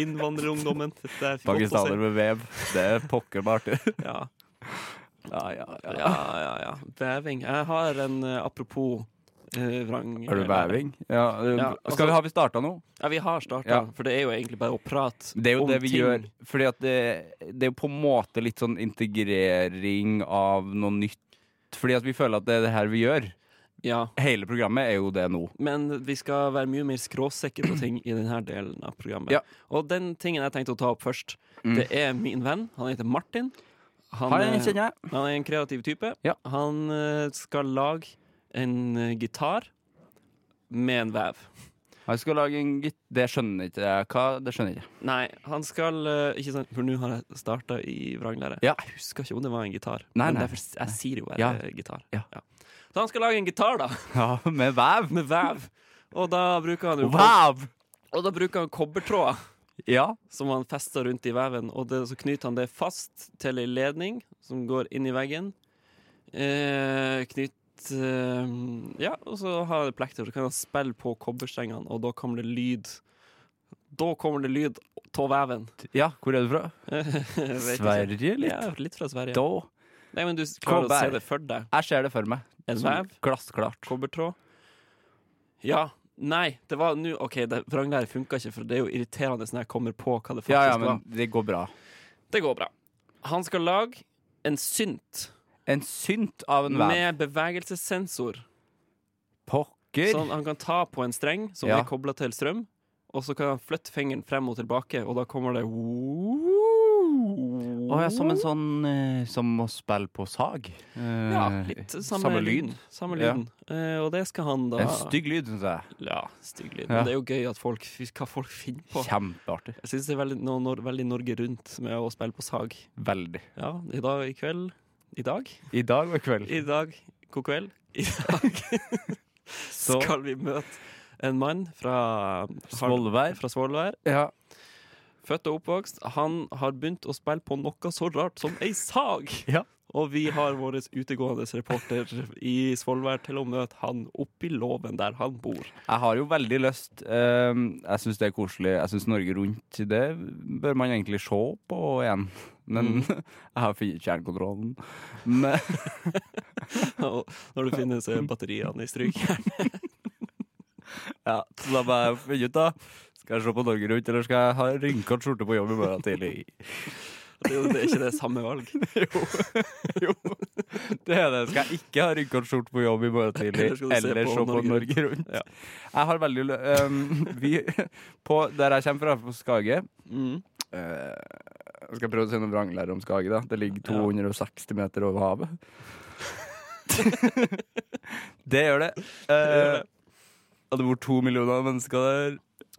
innvandrerungdommen. Dette er godt å se.
pakistaner med vev. Det er pokker meg artig.
Ja.
Ja, ja, ja.
Ja, ja, ja. Veving. Jeg har en eh, apropos eh, vrang...
Er du væving? Ja, eh,
Ja, altså-
skal vi ha vi starta nå?
Ja, vi har starta,
Ja.
for det er jo egentlig bare å prate
Det er jo
om
det vi
ting.
gjør. Fordi at det, det er jo på en måte litt sånn integrering av noe nytt. Fordi at vi føler at det er det her vi gjør.
Ja,
Hele programmet er jo det nå.
men vi skal være mye mer skråsikre på ting i denne delen av programmet.
Ja.
Og den tingen jeg tenkte å ta opp først, det er min venn. Han heter Martin. eh,
Han eh,
er-
kjenner jeg.
han er en kreativ type.
Ja.
Han eh, skal lage en eh, gitar med en vev.
Jeg skal lage en gitt... Det skjønner ikke jeg. Hva? Det skjønner jeg ikke.
Nei, han skal eh, Ikke sant, for nå har jeg starta i vranglære.
Ja.
Jeg husker ikke om det var en gitar.
Nei,
men
nei.
Derfor, s- jeg sier jo bare
Ja.
eh, gitar.
Ja.
Så han skal lage en gitar, da,
Ja, med vev.
med vev. Og da bruker han jo
Vev!
Og da bruker han kobbertråder
Ja.
som han fester rundt i veven. Og det, så knyter han det fast til ei ledning som går inn i veggen. Eh, knytt eh, Ja, og så har han plekter, så kan han spille på kobberstrengene, og da kommer det lyd. Da kommer det lyd av veven.
ja. Hvor er du fra?
Jeg vet ikke.
Sverige, litt?
Ja, litt fra Sverige.
Da.
Nei, men du klarer å
Kobber.
se det for deg.
Jeg ser det for meg.
En
Som
vev?
Glassklart.
Kobbertråd. Ja. Nei, det var nå OK, det- vranglære funka ikke, for det er jo irriterende når jeg kommer på hva det faktisk
Ja, ja,
var.
men det går bra.
Det går bra. Han skal lage en synt
En synt av en vev.
med bevegelsessensor.
Pokker.
Sånn han kan ta på en streng som
Ja.
er kobla til strøm, og så kan han flytte fingeren frem og tilbake, og da kommer det
Å ja, som
Mm.
en sånn eh, som å spille på sag. Eh,
ja, litt samme, lyd. Samme
Ja.
lyden. Eh, og det skal han da
En stygg lyd, syns jeg.
Ja, stygg lyd.
Ja.
Men det er jo gøy at folk, fy, hva folk finner på.
Kjempeartig.
Jeg syns det er veldig, no, nor, veldig Norge rundt med å spille på sag.
Veldig.
Ja, i dag, i kveld I dag?
I dag og i kveld.
I dag, god kveld. I dag
Så-
skal vi møte en mann fra
Svolvær.
Fra Svolvær.
Ja.
Født og oppvokst. Han har begynt å spille på noe så rart som ei sag.
Ja.
Og vi har vår utegående reporter i Svolvær til å møte han oppi låven der han bor.
Jeg har jo veldig lyst eh, Jeg syns det er koselig. Jeg syns Norge Rundt, det bør man egentlig se på igjen. Men
Mm.
jeg har funnet kjernekontrollen. Men
Og når du finner så er batteriene i strykjern.
Ja, så da må jeg finne ut, da. Skal jeg se på Norge Rundt, eller skal jeg ha rynkete skjorte på jobb i morgen tidlig?
Det er jo- det er ikke det samme valg.
Jo, det er det. Skal jeg ikke ha rynkete skjorte på jobb i morgen tidlig,
Eller skal du se
eller
på
se på
Norge
Norge Rundt?
Ja.
Jeg har veldig lø... ehm, vi, på, der jeg kommer fra, på Skage
Mm.
eh, Jeg skal prøve å si noe vranglære om Skage, da. Det ligger 260 meter over havet. det gjør det. Eh, og det bor to millioner mennesker der.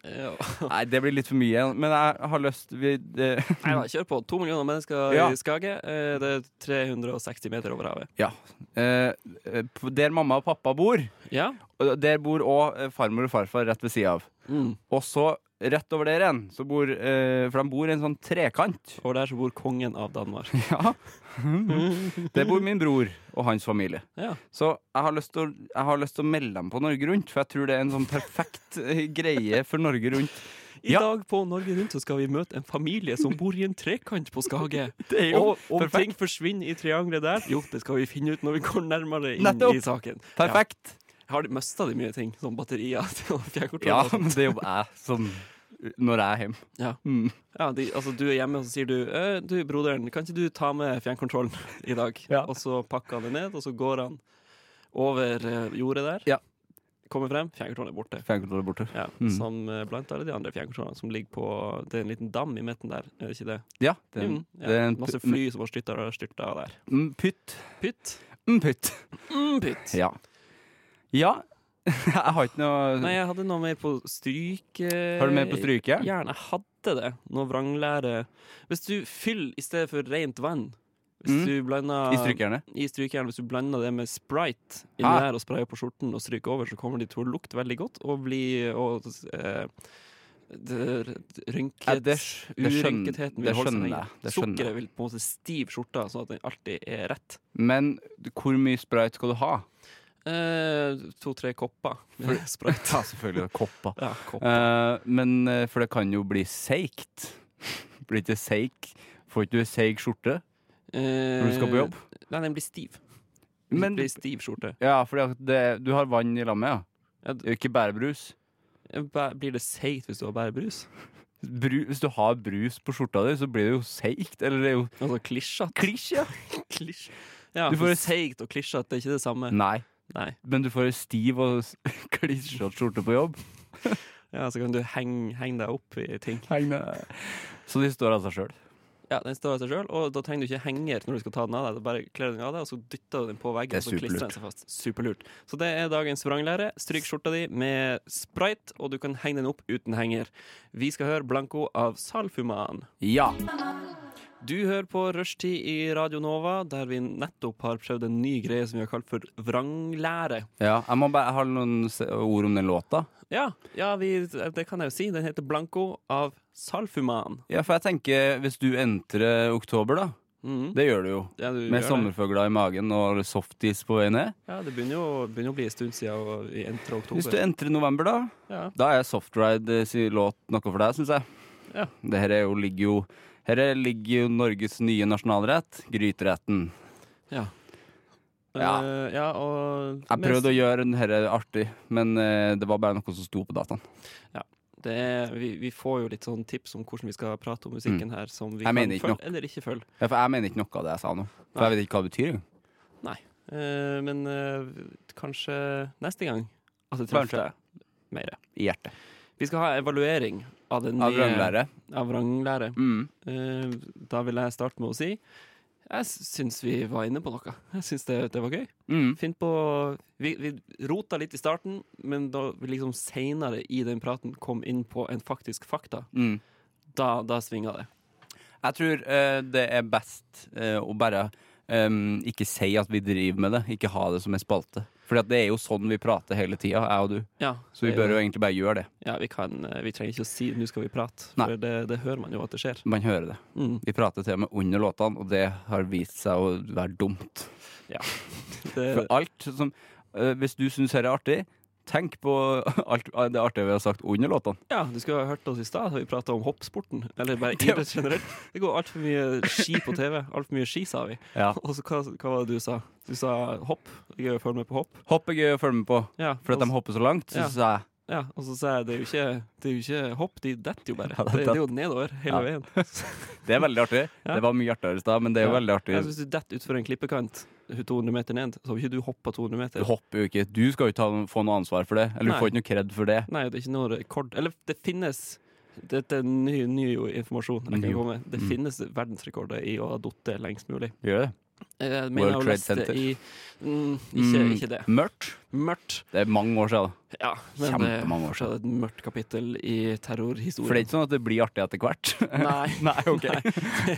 Ja.
Nei, det blir litt for mye. Men jeg har lyst vi, det,
Nei da, kjør på. To millioner mennesker
Ja.
i Skage. Eh, Det er 360 meter over havet.
Ja. Eh, eh, på- der mamma og pappa bor,
Ja.
og der bor òg farmor og farfar rett ved sida av.
Mm.
Og så rett over der igjen, så bor, eh, for de bor i en sånn trekant.
Og der så bor kongen av Danmark.
Ja. Der bor min bror og hans familie.
Ja.
Så jeg har lyst til å, jeg har lyst til å melde dem på Norge Rundt, for jeg tror det er en sånn perfekt eh, greie for Norge Rundt.
I
Ja.
dag på Norge Rundt så skal vi møte en familie som bor i en trekant på Skage.
Det
Og om
perfekt.
ting forsvinner i triangelet der, jo, det skal vi finne ut når vi går nærmere inn
Nettopp.
i saken.
Perfekt!
Ja. Har de mista de mye ting, som batterier og
Ja,
fjernkontroller?
men det jobber jeg sånn når jeg er hjemme.
Ja.
Mm.
Ja, de, altså, du er hjemme, og så sier du «Eh, Du, broderen, kan ikke du ta med fjernkontrollen i dag?
Ja.
Og så pakker han det ned, og så går han over eh, jordet der.
Ja.
Kommer frem, fjernkontrollen er borte.
Fjernkontrollen er borte.
Ja,
Mm.
Som eh, blant alle de andre fjernkontrollene som ligger på Det er en liten dam i midten der, er det ikke det?
Ja, det er,
Mm,
en-
ja.
det er en
Masse
pytt.
fly som har styrta og styrta der.
Pytt.
Pytt.
Mm, Pytt.
Mm, pytt.
Ja. Ja. Jeg har ikke noe
Nei, jeg hadde noe mer på stryk. eh,
Har du mer på stryket?
Gjerne hadde det. Noe vranglære. Hvis du fyller i stedet for rent vann Hvis
Mm.
du blander
I strykejernet?
i strykejern, hvis du blander det med sprite inni
Ah.
der og sprayer på skjorten og stryker over, så kommer de til å lukte veldig godt og bli og, eh, det, rynket,
Ja, det sk- det skjønner-
urynketheten
det
vil holde seg
skjønner
lenge.
jeg, det skjønner jeg.
Sukkeret vil på en måte stive skjorta, sånn at den alltid er rett.
Men hvor mye sprayt skal du ha?
Eh, To-tre kopper med sprite.
Ta selvfølgelig kopper.
Ja, kopp.
Eh, men eh, for det kan jo bli seigt. Blir ikke seig Får ikke du seig skjorte når du skal på jobb?
Eh, Nei, den blir stiv.
Men-
Den blir stiv skjorte.
Ja, for det, du har vann i lammet,
Ja,
ja.
d-
Ikke bare brus.
Eh, Bæ- Blir det seigt hvis du har bare brus?
Bru, hvis du har brus på skjorta di, så blir det jo seigt. Eller det er jo
Altså klisjete.
klisj, ja.
Klisj. Ja,
Du
for
får-
seigt og klisjete er ikke det samme.
Nei.
Nei.
Men du får ei stiv og s- klissete skjorte på jobb.
Ja, så kan du henge heng deg opp i ting.
Så de står av seg sjøl.
Ja, Den står av seg sjøl, og da trenger du ikke henger når du skal ta den av deg. Da bare kler du den av deg, og så dytter du den på veggen.
Det er
og så klistrer
superlurt.
den seg fast. Superlurt. Så det er dagens vranglære. Stryk skjorta di med sprite, og du kan henge den opp uten henger. Vi skal høre Blanko av Salfuman.
Ja.
Du hører på Rushtid i Radio Nova, der vi nettopp har prøvd en ny greie som vi har kalt for vranglære.
ja. Jeg må bare jeg har noen se- ord om den låta.
Ja, ja vi, det kan jeg jo si. Den heter Blanko av Salfuman.
Ja, for jeg tenker, hvis du entrer oktober, da.
Mhm.
Det gjør du jo.
Ja, du
Med
gjør det.
sommerfugler i magen og softis på vei ned.
Ja, det begynner jo, begynner å bli en stund siden og vi entrer
Hvis du
oktober.
entrer november, da,
Ja.
da er Softride eh, sin låt noe for deg, syns jeg.
Ja.
Det her er jo, ligger jo her er- ligger jo Norges nye nasjonalrett, gryteretten.
Ja. eh, ja, og
Jeg prøvde å gjøre den her artig, men eh, det var bare noe som sto på dataen.
det er, vi, vi får jo litt sånn tips om hvordan vi skal prate om musikken her, som vi
Mm. Jeg mener ikke
kan følge
nok.
eller ikke følge.
Ja, for jeg mener ikke noe av det jeg sa nå. For
Nei.
jeg vet ikke hva det betyr. engang.
Eh, men eh, kanskje neste gang at Altså, det treffer
Kanskje.
deg mer.
I hjertet.
Vi skal ha evaluering av den
Av vranglære.
Av vranglære.
Mm.
Eh, da vil jeg starte med å si jeg syns vi var inne på noe. Jeg syns det, det var gøy.
Mm.
Finn på vi, vi rota litt i starten, men da vi liksom seinere i den praten kom inn på en faktisk fakta,
Mm.
da, da svinga det.
Jeg tror eh, det er best eh, å bare em, ikke si at vi driver med det. Ikke ha det som en spalte. For det er jo sånn vi prater hele tida, jeg og du.
Ja,
Så vi
det-
bør jo egentlig bare gjøre det.
Ja, vi, kan, eh, vi trenger ikke å si 'nå skal vi prate',
Nei.
for det, det hører man jo at det skjer.
Man hører det.
Mm.
Vi prater til og med under låtene, og det har vist seg å være dumt. For
Det,
alt som eh, Hvis du syns dette er artig, tenk på alt eh, det artige vi har sagt under låtene.
ja, du skulle ha hørt oss i stad, da vi prata om hoppsporten. Eller bare idrett generelt. Det går altfor mye ski på TV. Altfor mye ski, sa vi.
Ja.
Og så hva, hva var det du sa? Du sa hopp. Det er gøy å følge med på hopp.
Hopp er gøy å følge med på,
Ja,
for at
og
de hopper så langt.
Ja.
Så sa jeg
Ja, og så sa jeg det er jo ikke, det er jo ikke hopp, de detter jo bare.
Ja, de
det, det er jo nedover hele veien.
det er veldig artig.
Ja.
Det var mye artigere i stad, men det er jo
Ja.
veldig artig.
Ja, så hvis du detter utfor en klippekant 200 meter ned, så har ikke du hoppa 200
Du
meter.
hopper jo ikke. Du skal jo ikke ha- få noe ansvar for det. Eller
Nei.
du får ikke noe kred for det.
Nei, det er ikke noe rekord. Eller det finnes Dette er ny, ny jo informasjon. Jeg
Ny
kan
jo.
komme. med. Det
Mm.
finnes verdensrekorder i å ha datt lengst mulig. Eh,
Gjør det.
Jeg
World
mener jeg har
Trade
lest det
Center.
i mm, ikke,
Mm,
ikke det.
Mørkt.
Mørkt.
Det er mange år siden. da.
Ja, men det er
Kjempemange år
fortsatt et mørkt kapittel
For
i
det er
terrorhistorien.
ikke sånn at det blir artig etter hvert.
Nei.
Nei, ok.
det,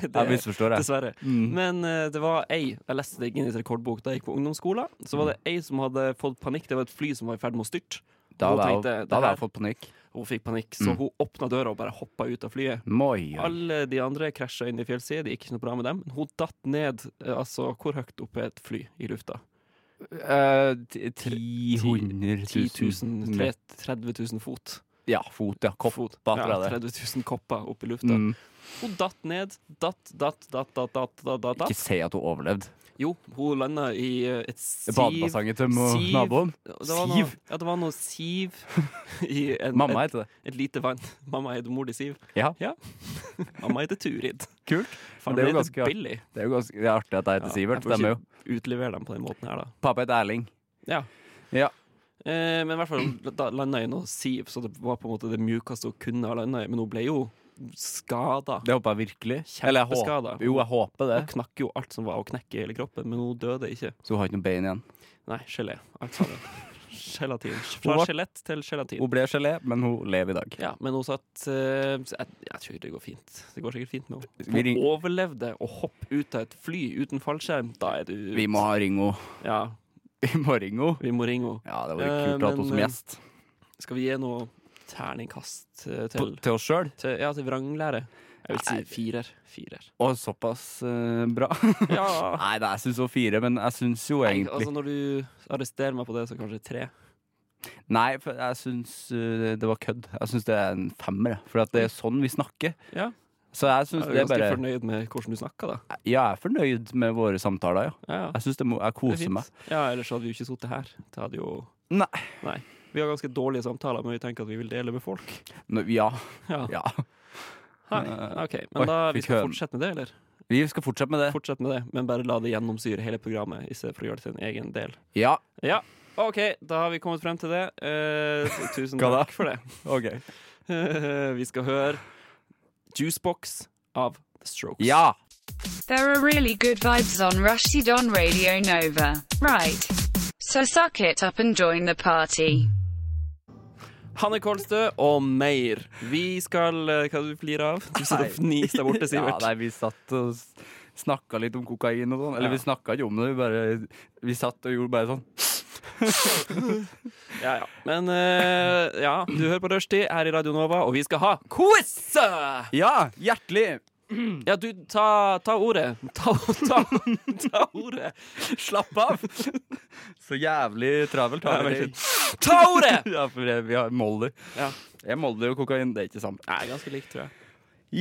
Jeg misforstår, jeg.
dessverre.
Mm.
Men eh, det var ei Jeg leste det i Guinness rekordbok da jeg gikk på ungdomsskolen. Så var det
Mm.
ei som hadde fått panikk. Det var et fly som var i ferd med å styrte.
Da
hun
hadde jeg,
tenkte, det
da hadde jeg
her-
fått panikk.
Hun fikk panikk, så
Mm.
hun åpna døra og bare hoppa ut av flyet.
Moi, oi.
Alle de andre krasja inn i fjellsida, det gikk ikke noe bra med dem. Men hun datt ned eh, altså, hvor høyt opp er et fly i lufta?
Eh, ti- 300
10
000
000? tre- 30 000 fot?
Ja, fot, ja. Kopper,
Fot.
tror
Ja,
jeg det.
30 000 kopper opp i lufta.
Mm.
Hun datt ned. Datt, datt, datt, datt, datt. datt, datt,
Ikke
datt.
si at hun overlevde.
Jo, hun landa i eh, et siv
Badebassenget til mo-
siv-
naboen.
Det var noe,
Siv.
ja, det var noe siv i en,
Mamma
et,
heter det.
et lite vann. Mamma heter mor til Siv.
Ja.
Mamma heter Turid.
Kult.
Faren
det er jo
min heter
ganske artig.
Billy.
Det er jo ganske det er artig at jeg heter
Ja,
Sivert.
jeg får
Stemmer jo.
Utlevere dem på den måten her, da.
Pappa heter Erling.
Eh, men i hvert fall da landa jeg i noe siv, så det var på en måte det mjukeste hun kunne ha landa i. Men hun ble jo skada.
Det håper jeg virkelig. Eller jeg håper,
Kjempeskada.
jo, jeg håper det.
Hun knakk jo alt som var å knekke i hele kroppen, men hun døde ikke.
Så hun har ikke noe bein igjen.
Nei, gelé. Alt sammen. Gelatin. Fra
var-
skjelett til gelatin.
Hun ble gelé, men hun lever i dag.
Ja, men hun satt eh, så jeg, jeg tror det går fint. Det går sikkert fint med henne.
Vi ring-
Hun overlevde å hoppe ut av et fly uten fallskjerm. Da er du
Vi må ha Ringo.
Ja,
Vi må ha Ringo.
vi må ringe henne.
Ja, det
vært
var
Eh,
kult å ha henne
men,
som
eh,
gjest.
Skal vi gi noe terningkast eh, til,
Til oss sjøl?
til Ja, til vranglære? Jeg vil si
Nei.
firer. Firer.
Og såpass eh, bra.
Ja.
Nei, det, jeg syns hun fire, men jeg syns jo
Nei,
egentlig
altså, når du arresterer meg på det, så kanskje tre.
Nei, for jeg syns eh, det var kødd. Jeg syns det er en femmer, jeg. for at det er sånn vi snakker.
Ja.
Så jeg syns
Jeg er
det er
ganske
bare
fornøyd med hvordan du snakka, da.
Ja, jeg er fornøyd med våre samtaler, ja.
Ja, ja.
Jeg syns det må Jeg
Det er
koser
fint.
meg.
Ja, ellers hadde vi jo ikke sittet her. Det hadde jo
Nei.
Vi har ganske dårlige samtaler, men vi tenker at vi vil dele med folk.
Nå, ja.
Ja.
ja.
Nei, ok, Men
Oi,
da vi
fikk
skal
høn.
fortsette med det, eller?
Vi skal fortsette med det.
Fortsett med det, men bare la det gjennomsyre hele programmet. I stedet for å gjøre det til en egen del
Ja.
Ja, OK, da har vi kommet frem til det. Eh, tusen
Hva da?
takk for det.
OK.
vi skal høre Juicebox av The Strokes.
Ja!
There are really good vibes on Rushdie on Radio Nova. Right. So suck it up and join the party.
Hanne Kolstø og mer. Vi skal eh, Hva er det du flirer av? Du sitter og fnis der borte,
Ja,
Sivert.
nei, vi satt og s- snakka litt om kokain og sånn. Eller
Ja.
vi snakka ikke om det, vi bare Vi satt og gjorde bare sånn.
Ja, ja. Men eh, ja, du hører på Rushtid her i Radio Nova, og vi skal ha quiz!
Ja, hjertelig!
Ja, du, ta, ta ordet. Ta, ta, ta ordet.
Slapp av! Så jævlig travelt har
Ja,
vi
vent
det.
Ta ordet!
Ja, for vi har Molly.
Ja.
Jeg er Molly og kokain, det er ikke samme.
Nei, ganske likt, tror jeg.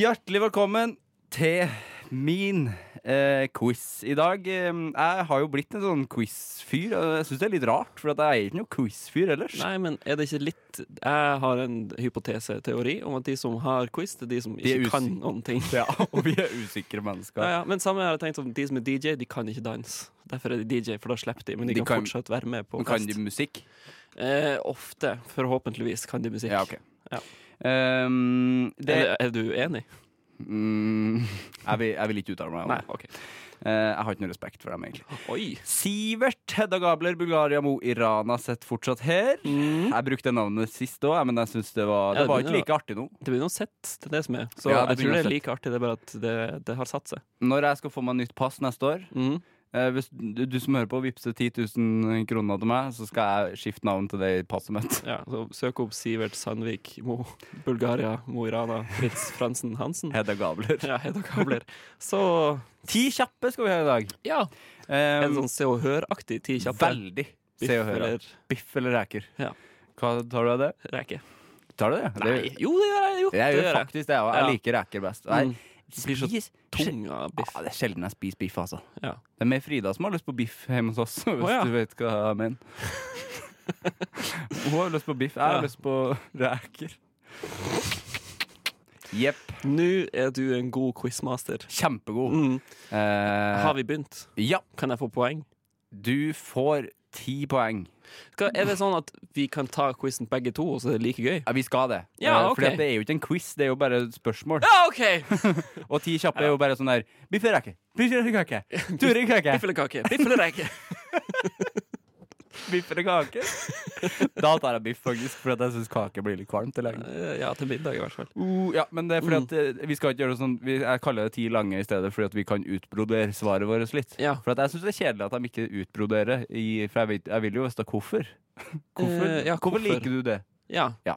Hjertelig velkommen til min eh, quiz i dag. Eh, Jeg har jo blitt en sånn quiz-fyr, og jeg syns det er litt rart, for at jeg er ikke noen quiz-fyr ellers.
Nei, men er det ikke litt Jeg har en hypoteseteori om at de som har quiz, det er de som
er
ikke kan
usikre.
noen ting.
Ja, og vi er usikre mennesker.
Ja, ja. Men samme har jeg tenkt om de som er DJ, de kan ikke danse. Derfor er de DJ, for da slipper de. Men de,
De
kan,
kan-
fortsatt være med på
Men Kan
fest.
de musikk?
Eh, ofte. Forhåpentligvis kan de musikk.
Ja, ok.
Ja.
Ehm, det,
Er, er du uenig?
mm, jeg, vil, jeg vil ikke uttale meg om
Nei.
det.
ok
Eh, jeg har ikke noe respekt for dem, egentlig.
Oi!
Sivert, Hedda Gabler, Bulgaria Mo Irana sitter fortsatt her. Jeg brukte navnet sist òg, men jeg synes det var,
Mhm. Ja,
det
det
var
begynner
ikke like artig nå.
Det blir noe sett til det som er. Så
Ja,
jeg
det blir
tror det
noe
er like artig, det er bare at det, det har satt seg.
Når jeg skal få meg nytt pass neste år
Mm.
eh, Hvis du, du som hører på, vippser 10 000 kroner til meg, så skal jeg skifte navn til det i passet mitt.
Ja, så søk opp Sivert Sandvik Mo, Bulgaria, Mo i Rana, Fritz Fransen Hansen.
Hedda Gabler.
Ja, Hedda Kabler. Så
Ti kjappe skal vi ha i dag.
ja.
Ehm,
En sånn Se og Hør-aktig ti kjappe.
veldig.
Biff
Se og hør. altså.
eller
Biff eller reker?
Ja.
Hva tar du av det?
Reke.
Tar du det? Det-
Nei, jo, det gjør jeg jo.
Jeg
det
gjør
gjør jeg.
faktisk det, og jeg
Ja.
liker reker best. Og
Mm.
Jeg
Blir så
spis-
Tung av biff.
Ja, det er sjelden jeg spiser biff, altså.
Ja.
Det er mer Frida som har lyst på biff hjemme hos oss, hvis
ja.
du vet hva jeg mener. Hun har lyst på biff, jeg har
Ja.
lyst på reker. Jepp.
Nå er du en god quizmaster.
Kjempegod.
Mm.
Eh,
Har vi begynt?
Ja,
Kan jeg få poeng?
du får ti poeng.
Skal, er det sånn at vi kan ta quizen begge to, og så er det like gøy?
Ja, vi skal det.
Ja,
Eh,
ok.
Fordi at det er jo ikke en quiz, det er jo bare spørsmål.
Ja, OK!
Og ti kjappe er jo bare sånn der Biff eller reker? Biff eller kake? Turing kake?
Biff eller kake? Biff eller reke?
Biff eller kake? da tar jeg biff, faktisk, for at jeg syns kake blir litt kvalmt. i lengden.
Eh, Ja, til middag i hvert fall.
Uh, ja, men det er fordi at eh, vi skal ikke gjøre det sånn vi, Jeg kaller det ti lange i stedet, fordi at vi kan utbrodere svaret vårt litt.
Ja.
For at jeg syns det er kjedelig at de ikke utbroderer, i, for jeg, vet, jeg vil jo vite hvorfor. Hvorfor,
Eh, ja,
hvorfor
hvorfor?
liker du det?
Ja.
Ja.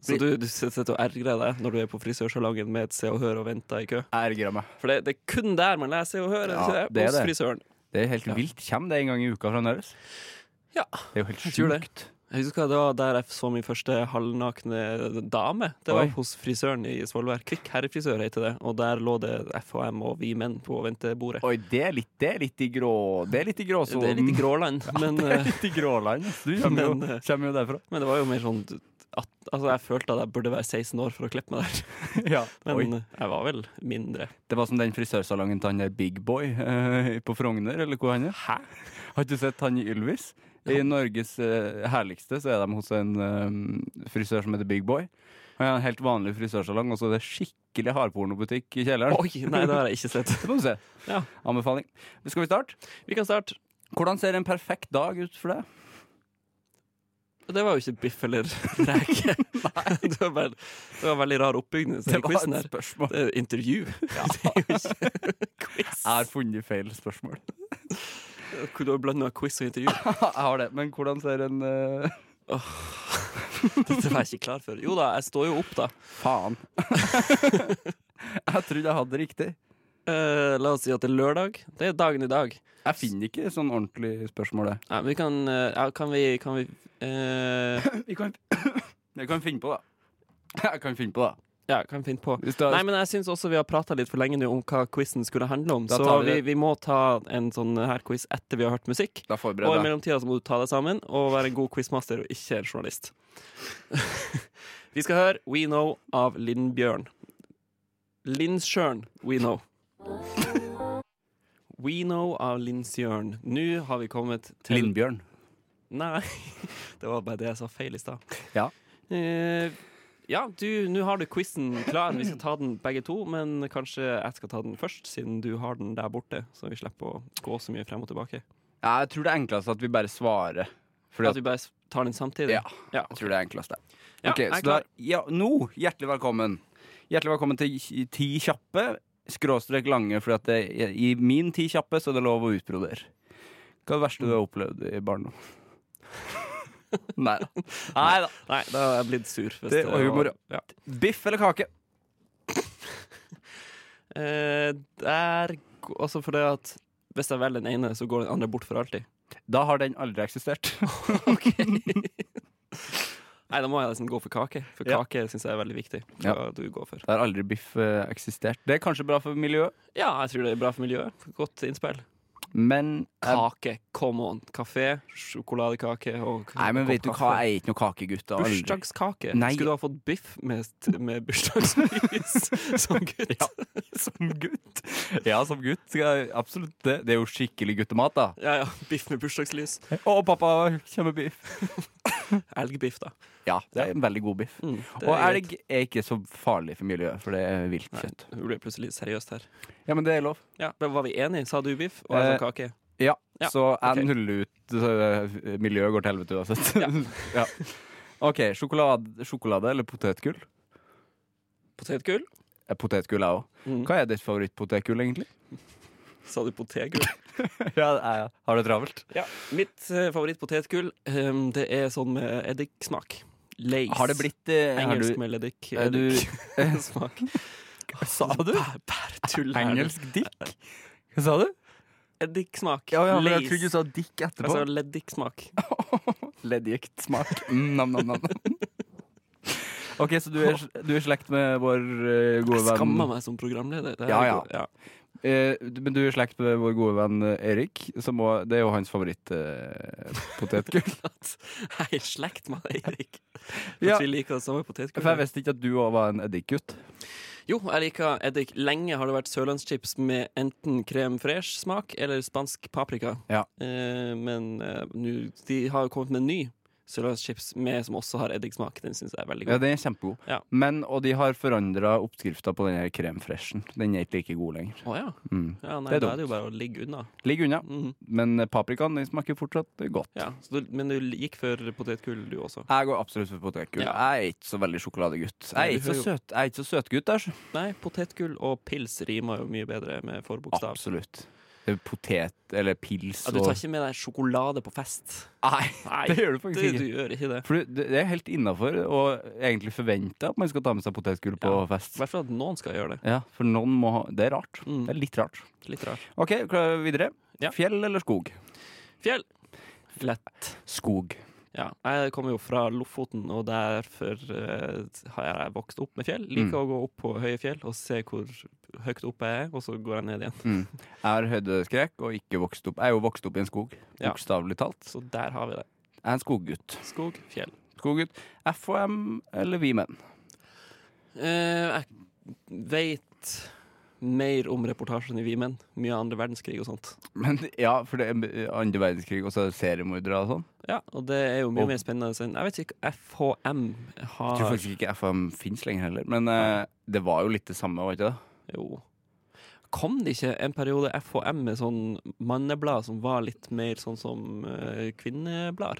Så du, du sitter og ergrer deg når du er på frisørsalongen med et Se og Hør og venter i kø?
Jeg ergrer meg.
For det, det er kun der man lærer Se og Hør, er det ikke
Ja,
det?
det er
hos
det.
frisøren.
Det er helt
Ja.
vilt. Kommer det en gang i uka fremdeles?
Ja.
Det er jo helt
Jeg tror det.
sjukt.
Jeg husker det var der jeg så min første halvnakne dame. Det var
Oi.
hos frisøren i Svolvær. Kvikk herrefrisør heter det. Og der lå det FHM og vi menn på ventebordet.
Oi, det er litt, det er litt i grå Det er litt i gråsonen.
Det er litt i gråland, men,
Det er
eh,
litt i gråland. ass. Du kommer jo,
Men, eh,
kommer jo derfra.
men det var jo mer sånn at altså, jeg følte at jeg burde være 16 år for å klippe meg der.
Ja.
Men eh,
Oi.
jeg var vel mindre.
Det var som den frisørsalongen til han der Big Boy eh, på Frogner, eller hvor han er. Hæ? Har du sett han i Ylvis? I Norges eh, herligste så er de hos en eh, frisør som heter Big Boy. Han har en helt vanlig frisørsalong, og så er det skikkelig hardpornobutikk i kjelleren.
Oi, nei, det har jeg ikke sett.
Det må du se.
Ja.
Anbefaling. Skal vi starte?
Vi kan starte.
Hvordan ser en perfekt dag ut for deg?
Det var jo ikke biff eller reke. det, var bare, det var veldig rar oppbygning til quizen her.
spørsmål.
Det er jo intervju. det er jo ikke quiz.
Jeg har funnet feil spørsmål.
Hvor du har blandet quiz og intervju.
Jeg har det, men hvordan ser en eh,
Dette var jeg ikke klar for. Jo da, jeg står jo opp, da.
Faen. jeg trodde jeg hadde det riktig.
Eh, la oss si at det er lørdag. Det er dagen i dag.
Jeg finner ikke sånn ordentlig spørsmål, det.
Nei, men vi kan, eh, ja, kan vi, kan vi eh,
Vi kan, jeg kan finne på det. Jeg kan finne på det.
Ja, kan vi finne på.
Hvis det er-
Nei, men jeg syns også vi har prata litt for lenge nå om hva quizen skulle handle om.
Da
Så
tar vi
vi,
det.
vi må ta en sånn her quiz etter vi har hørt musikk.
Da
Og i
forbereder jeg.
mellomtida så må du ta deg sammen og være en god quizmaster og ikke en journalist. vi skal høre We Know av Lindbjørn. Lindsjørn, We Know. We Know av Lindsjørn. Nå har vi kommet til
Lindbjørn.
Nei, det var bare det jeg sa feil i stad.
Ja.
Eh, Ja, du, nå har du quizen klar. Vi skal ta den begge to, men kanskje jeg skal ta den først, siden du har den der borte. Så vi slipper å gå så mye frem og tilbake.
Ja, jeg tror det er enklest at vi bare svarer. Fordi
At vi bare tar den samtidig?
Ja. Jeg tror det er enklest, det.
Ja,
Ok,
jeg er
så da,
klar.
ja, nå, hjertelig velkommen. Hjertelig velkommen til i- Ti kjappe, skråstrek lange, for at det, i min ti kjappe så er det lov å utbrodere. Hva er det verste du har opplevd i barndom? Nei da. Nei da.
Nei, da har jeg blitt sur. Hvis
Det var humor,
ja.
Biff eller kake?
Eh, der g- Også fordi at hvis jeg velger den ene, så går den andre bort for alltid.
Da har den aldri eksistert.
Nei, da må jeg liksom gå for kake, for
Ja.
kake syns jeg er veldig viktig. Hva
Ja.
du går for.
Da har aldri biff eh, eksistert. Det er kanskje bra for miljøet,
Ja, jeg tror det er bra for miljøet. Godt innspill.
men jeg-
Kake, come on. Kafé, sjokoladekake og
Nei, men vet du hva, jeg er ikke noen kakegutt. da, aldri.
Bursdagskake?
Nei.
Skulle du ha fått biff med, med bursdagspris som gutt?
Ja. Som gutt. Ja, som gutt. Skal jeg, absolutt. Det, det er jo skikkelig guttemat, da.
Ja, ja. Biff med bursdagslys.
Å, pappa, kommer biff.
Elgbiff, da.
Ja, det er en veldig god biff.
Mm,
Og elg er ikke så farlig for miljøet, for det er vilt kjøtt.
Nå ble jeg plutselig litt seriøst her.
Ja, men det er lov.
Ja, men Var vi enige? Sa du biff, og jeg sa
Eh,
kake?
Ja,
Ja,
så jeg
ok.
nuller ut så, eh, Miljøet går til helvete uansett. Ja. OK, sjokolade, sjokolade eller potetgull?
Potetgull?
Eh, Potetgull, jeg òg.
Mm.
Hva er ditt favorittpotetgull, egentlig?
Sa du potetgull?
Ja, jeg har det travelt.
Ja. Mitt eh, favorittpotetgull, ehm, det er sånn med eddiksmak. Lace.
Har det blitt eh, har
Engelsk
du,
med eddik.
Er du-
Eddiksmak.
Sa du?
Bæ- Bære tull her.
dick? Hva sa du?
Eddiksmak.
Ja, ja, men jeg
Lace. Altså,
trodde du sa dick
Jeg sa
etterpå.
leddikksmak.
Leddgikt smak. Mm, nam, nam, nam. OK, så du er, du er i slekt med vår eh, gode
Jeg
venn
skammer meg som programleder. Det er
Ja, ja.
god- ja.
Eh, du- men du er i slekt med vår gode venn eh, Erik. Som også, det er jo hans eh, favorittpotetgull.
Jeg er i slekt med Eirik.
Ja.
At vi liker det samme potetgull.
For jeg visste ikke at du òg var en eddikgutt.
Jo, jeg liker eddik. Lenge har det vært sørlandschips med enten krem fresh-smak eller spansk paprika.
Ja.
Eh, men eh, nu, de har jo kommet med en ny sørlandschips med, som også har eddiksmak. Den syns jeg er veldig
Ja,
god.
den er kjempegod.
Ja.
Men, og de har forandra oppskrifta på den her krem freshen. Den er ikke like god lenger.
Å ja.
Mm.
ja nei,
Det er
da
dumt.
er det jo bare å ligge unna.
Ligg unna.
Mhm.
Men paprikaen den smaker fortsatt godt.
Ja, så du, men du gikk for potetgull, du også?
Jeg går absolutt for potetgull.
Ja.
Jeg er ikke så veldig sjokoladegutt.
Nei,
Jeg er
du
ikke så søt, jeg er ikke så søtgutt der. så-
Nei, potetgull og pils rimer jo mye bedre med forbokstav.
Absolutt. Det er Potet eller pils
Ja, du tar ikke med deg sjokolade på fest?
Nei,
Nei,
det gjør du faktisk
Du,
ikke.
du gjør ikke det.
For det- det er helt innafor å egentlig forvente at man skal ta med seg potetgull på
Ja. I
fest.
hvert fall at noen skal gjøre det.
Ja, For noen må ha Det er rart.
Mm.
Det er litt rart.
Litt rart.
OK, klar, videre.
Ja.
Fjell eller skog?
Fjell. Lett.
Skog.
Ja. Jeg kommer jo fra Lofoten, og derfor eh, har jeg vokst opp med fjell.
Mm.
Liker å gå opp på høye fjell og se hvor høyt oppe jeg er, og så går jeg ned igjen.
Mm. Jeg har høydeskrekk og ikke vokst opp Jeg er jo vokst opp i en skog,
Ja.
bokstavelig talt.
Så der har vi det.
Jeg er en skoggutt.
Skog, fjell.
Skoggutt. FHM eller Vi Menn?
Eh, jeg veit mer om reportasjen i Vi menn. Mye andre verdenskrig og sånt.
Men ja, for det er andre verdenskrig, og så er det seriemordere og sånn.
Ja, Og det er jo mye
Og-
mer spennende enn Jeg vet ikke FHM
Jeg tror
har
faktisk ikke FHM fins lenger heller, men eh, det var jo litt det samme, var ikke det?
Jo. Kom det ikke en periode FHM med sånn manneblad som var litt mer sånn som eh, kvinneblader?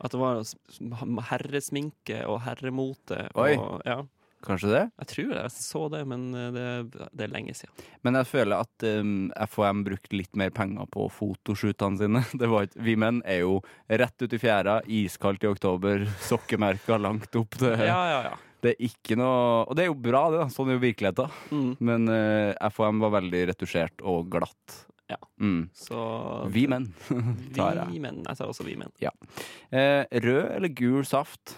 At det var s- herresminke og herremote.
Oi.
Og, ja,
Kanskje det?
jeg tror det. Jeg så det, men eh, det, det er lenge siden.
Men jeg føler at um, em, FHM brukte litt mer penger på fotoshootene sine. Det var ikke, vi menn er jo rett ut i fjæra, iskaldt i oktober, sokkemerker langt opp. Det,
Ja, ja, ja.
det er ikke noe Og det er jo bra, det, da. Sånn er jo virkeligheten.
Mm.
Men eh, FHM var veldig retusjert og glatt.
Ja.
Mm.
Så
Vi menn tar jeg.
Vi menn. Jeg tar også vi menn.
Eh, rød eller gul saft?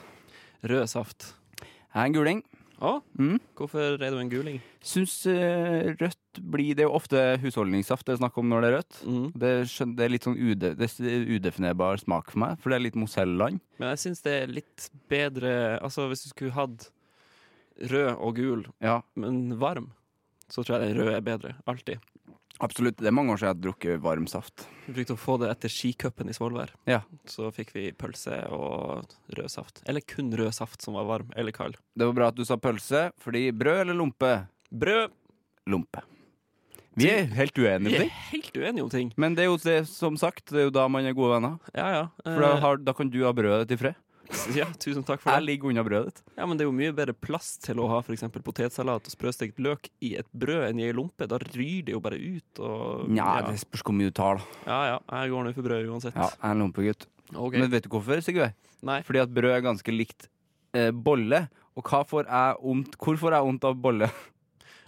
Rød saft.
Jeg er en guling.
Å,
Mm.
hvorfor er du en guling?
Syns eh, rødt blir Det er jo ofte husholdningssaft det er snakk om når det er rødt.
Mm.
Det, skjøn- det er litt sånn ude, det er udefinerbar smak for meg, for det er litt moselleland.
Men jeg syns det er litt bedre Altså, hvis du skulle hatt rød og gul
Ja.
men varm, så tror jeg den røde er bedre. Alltid.
Absolutt. Det er mange år siden jeg har drukket varm saft.
Vi brukte å få det etter skicupen i Svolvær.
Ja.
Så fikk vi pølse og rød saft. Eller kun rød saft som var varm eller kald.
Det var bra at du sa pølse, fordi brød eller lompe?
Brød
Lompe. Vi er helt uenige om
Vi er
ting.
helt uenige om ting.
Men det er jo det, som sagt, det er jo da man er gode venner.
Ja, ja.
For da,
Eh,
har, da kan du ha brødet ditt i fred.
ja tusen takk for
Jeg
det.
ligger unna brødet ditt.
Ja, men det er jo mye bedre plass til å ha for eksempel potetsalat og sprøstekt løk i et brød enn i ei lompe. Da ryr det jo bare ut. Og,
Nja,
ja.
det spørs hvor mye du tar, da.
ja, ja. Jeg går nå for brød uansett.
Ja, jeg er en lompegutt.
Ok.
Men vet du hvorfor, Sigve?
Nei.
Fordi at brød er ganske likt eh, bolle. Og hva får jeg vondt, hvor får jeg vondt av bolle?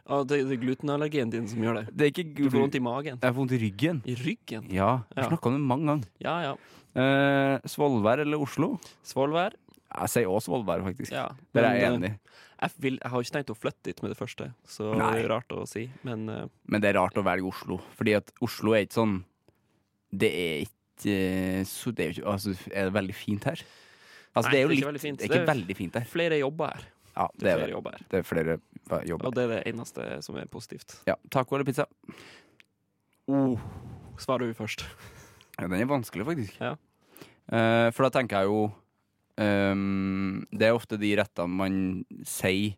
Ah, det, det er glutenallergien din som gjør det.
Det er ikke
Du får vondt i magen.
Jeg har vondt i ryggen.
I ryggen.
Ja, jeg
Ja.
har snakka om det mange ganger.
Ja, ja.
Eh, Svolvær eller Oslo?
Svolvær.
Jeg sier også Svolvær, faktisk.
Ja.
Der er jeg
Men, eh,
enig.
Jeg, vil, jeg har ikke tenkt å flytte dit med det første, så
Nei.
det er rart å si. Men eh,
Men det er rart å velge Oslo, fordi at Oslo er ikke sånn Det er ikke eh, så Det er jo ikke Altså, er det veldig fint her? Altså,
Nei,
det er jo
det er
litt
ikke veldig fint.
Det er ikke
Det er-
veldig fint her.
flere jobber her.
Ja,
Det er flere jobber her.
Det er flere va-
Og
jobber.
det er det eneste som er positivt.
Ja, taco eller pizza?
Oh. Svarer du først.
Ja, den er vanskelig, faktisk.
Ja.
Eh, for da tenker jeg jo ehm, Det er ofte de rettene man sier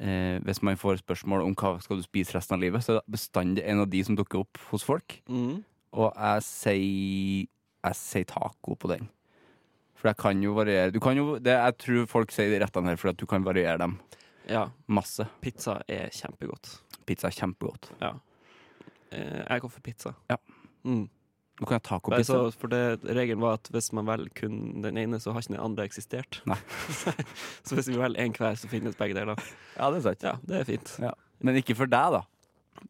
eh, hvis man får spørsmål om hva skal du spise resten av livet, så er det bestandig en av de som dukker opp hos folk.
Mm.
Og jeg sier Jeg sier taco på den. For jeg kan jo variere du kan jo, det, Jeg tror folk sier de rettene her fordi at du kan variere dem
Ja,
masse.
pizza er kjempegodt.
Pizza er kjempegodt.
Eh, jeg går for pizza.
Ja.
Mm.
Du kan ha
Bare
tacopizza.
så, for det, regelen var at hvis man velger kun den ene, så har ikke den andre eksistert.
Nei.
så hvis vi velger én hver, så finnes begge deler.
Ja, det er sant.
Ja, det er fint.
Men ikke for deg, da.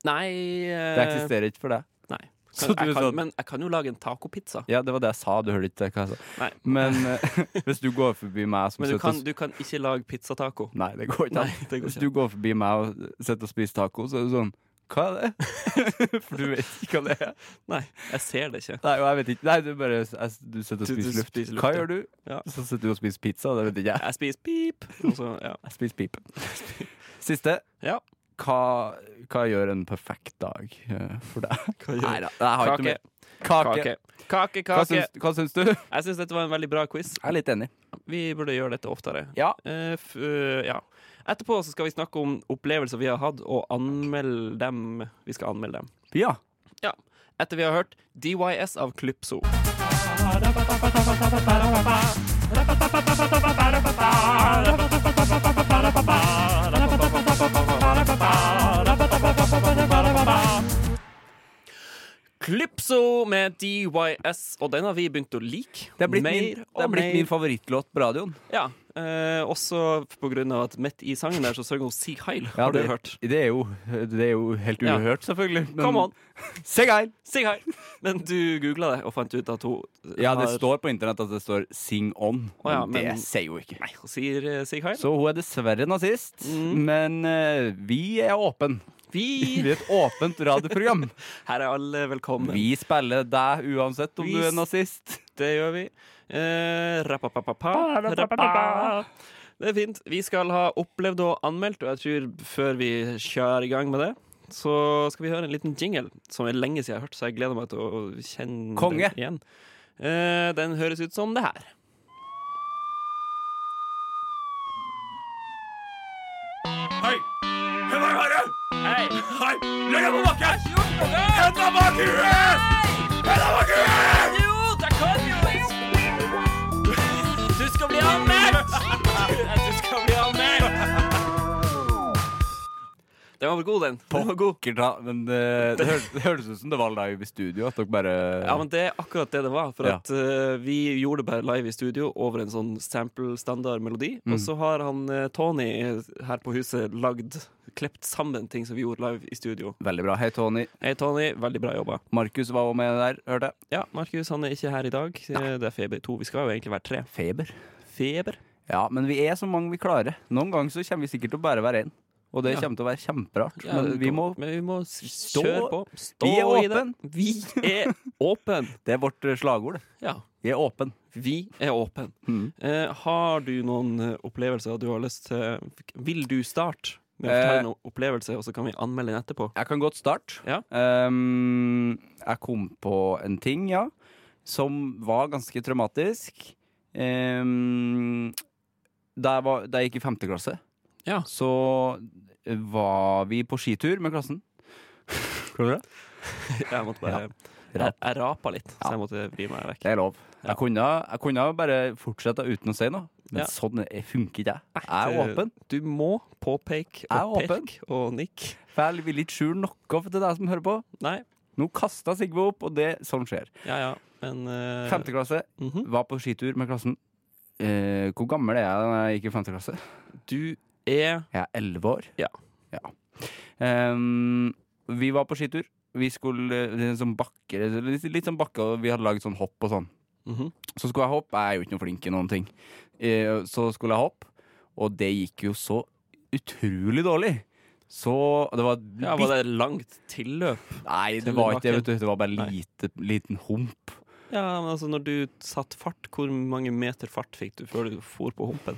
Nei eh,
Det eksisterer ikke for deg.
Nei.
Så
Kan,
du sånn,
jeg kan,
sa-
men jeg kan jo lage en tacopizza.
Ja, det var det jeg sa. Du hørte ikke hva jeg sa.
Nei.
Men eh, hvis du går forbi meg som
Men du
sitter og
kan,
s-
du kan ikke lage pizzataco.
Nei, det går ikke
Nei,
an.
det går
Hvis du
ikke.
går forbi meg og sitter og spiser taco, så er du sånn Hva er det? for du vet ikke hva det er.
Nei, jeg ser det ikke.
Nei, og jeg vet ikke. Nei, du bare jeg, Du sitter og
Du- du
spiser luft.
spiser luft,
Hva
ja.
gjør du?
Ja.
Så sitter du og spiser pizza, det vet ikke jeg.
Jeg spiser pip. Og så, ja.
Jeg spiser pipe. Siste.
Ja.
Hva, hva gjør en perfekt dag eh, for deg?
Hva gjør-
Neida, jeg har
Kake.
ikke mer. Kake.
Kake. Kake,
Hva,
kake.
syns, hva syns du? Jeg
Jeg syns dette var en veldig bra quiz.
er litt enig.
Vi burde gjøre dette oftere.
Ja.
Eh, f eh, ja. Etterpå så skal vi snakke om opplevelser vi har hatt, og anmelde dem. Vi skal anmelde dem.
Ja.
Etter vi har hørt DYS av Klypso. Klypso med DYS, og den har vi begynt å like.
Det er blitt,
mer
min, det
og
er blitt
mer.
min favorittlåt på radioen.
Ja, eh, også på grunn av at midt i sangen der så synger hun Sig Heil,
Ja,
har du
det-
hørt.
Det er jo, det er jo helt
Ja.
uhørt, selvfølgelig. men-
Come on,
Sig heil!
Sig Heil! Men du googla det og fant ut at hun
Ja, det
har-
står på internett at det står 'sing on'.
Å ja,
men
men-
det sier jo ikke.
Nei, hun sier eh, Sig Heil.
Så hun er dessverre nazist,
Mm.
men eh, vi er åpen. Vi
Vi
er et åpent radioprogram.
Her er alle velkommen.
Vi spiller deg uansett om
Vi
du er
s-
nazist.
Det gjør vi. Eh, rapapapapa, rapapapa. Det er fint. Vi skal ha opplevd og anmeldt, og jeg tror før vi kjører i gang med det, så skal vi høre en liten jingle som er lenge siden jeg har hørt, så jeg gleder meg til å kjenne
Konge.
den igjen. Eh, den høres ut som det her.
Hei! Hvem er dere? Hei! Hei! Legg deg på bakken! Henda bak huet! Henda bak huet! Jo,
Den var god, den. den var god.
Pokker ta, men eh, det, det, hør, det høres ut som det var live i studio. At dere bare
Ja, men Det er akkurat det det var. For
Ja.
at eh, Vi gjorde det bare live i studio over en sånn sample-standard-melodi. Og så har han eh, Tony her på huset lagd klept sammen ting som vi gjorde live i studio.
Veldig bra. Hei, Tony.
Hei, Tony. Veldig bra jobba.
Markus var også med der, hørte jeg.
Ja, Markus han er ikke her i dag. Eh, Det er Feber 2. Vi skal jo egentlig være tre.
Feber.
Feber?
Ja, men vi er så mange vi klarer. Noen ganger så kommer vi sikkert til å bare være én. Og det
Ja.
kommer til å være kjemperart.
Ja,
men vi må
men vi må s-
Stå-
kjøre på. Stå
Vi er
i det.
åpen.
Vi er åpen!
Det er vårt eh, slagord. det.
Ja.
Vi er åpen.
Vi er åpen.
Mhm.
Eh, har du noen eh, opplevelser du har lyst til Vil du starte med å fortelle en opplevelse, og så kan vi anmelde den etterpå.
Jeg kan godt starte.
Ja.
Ehm, jeg kom på en ting, ja, som var ganske traumatisk. Ehm, da, jeg var, da jeg gikk i femte klasse,
Ja.
så var vi på skitur med klassen. Klarer du det?
Jeg måtte bare Jeg, jeg rapa litt, så jeg måtte vri meg vekk.
Det er lov. Jeg, kunne, jeg kunne bare fortsette uten å si noe, men
Ja.
sånn funker ikke jeg. Jeg er åpen.
Du må påpeke
Jeg
og
er åpen.
peke og nikke.
For jeg vil ikke skjule noe til deg som hører på.
Nei.
Nå kasta Sigve opp, og det sånn skjer.
Ja, ja. Men eh,
Femte klasse.
mhm.
Var på skitur med klassen. Eh, hvor gammel er jeg da jeg gikk i femte klasse?
Du er
Jeg er elleve år.
Ja.
Ja. Ehm, vi var på skitur. Vi skulle eh, det er en sånn bakke, litt, litt sånn bakke, og vi hadde laget sånn hopp og sånn.
Mhm.
Så skulle jeg hoppe. Jeg er jo ikke noe flink i noen ting. Eh, så skulle jeg hoppe, og det gikk jo så utrolig dårlig. Så det var, et
Ja, var det langt tilløp?
Nei, det
Til
var ikke det,
bakken.
vet du. Det var bare
Nei.
lite, liten hump.
Ja, men altså Når du satt fart, hvor mange meter fart fikk du før du for på humpen?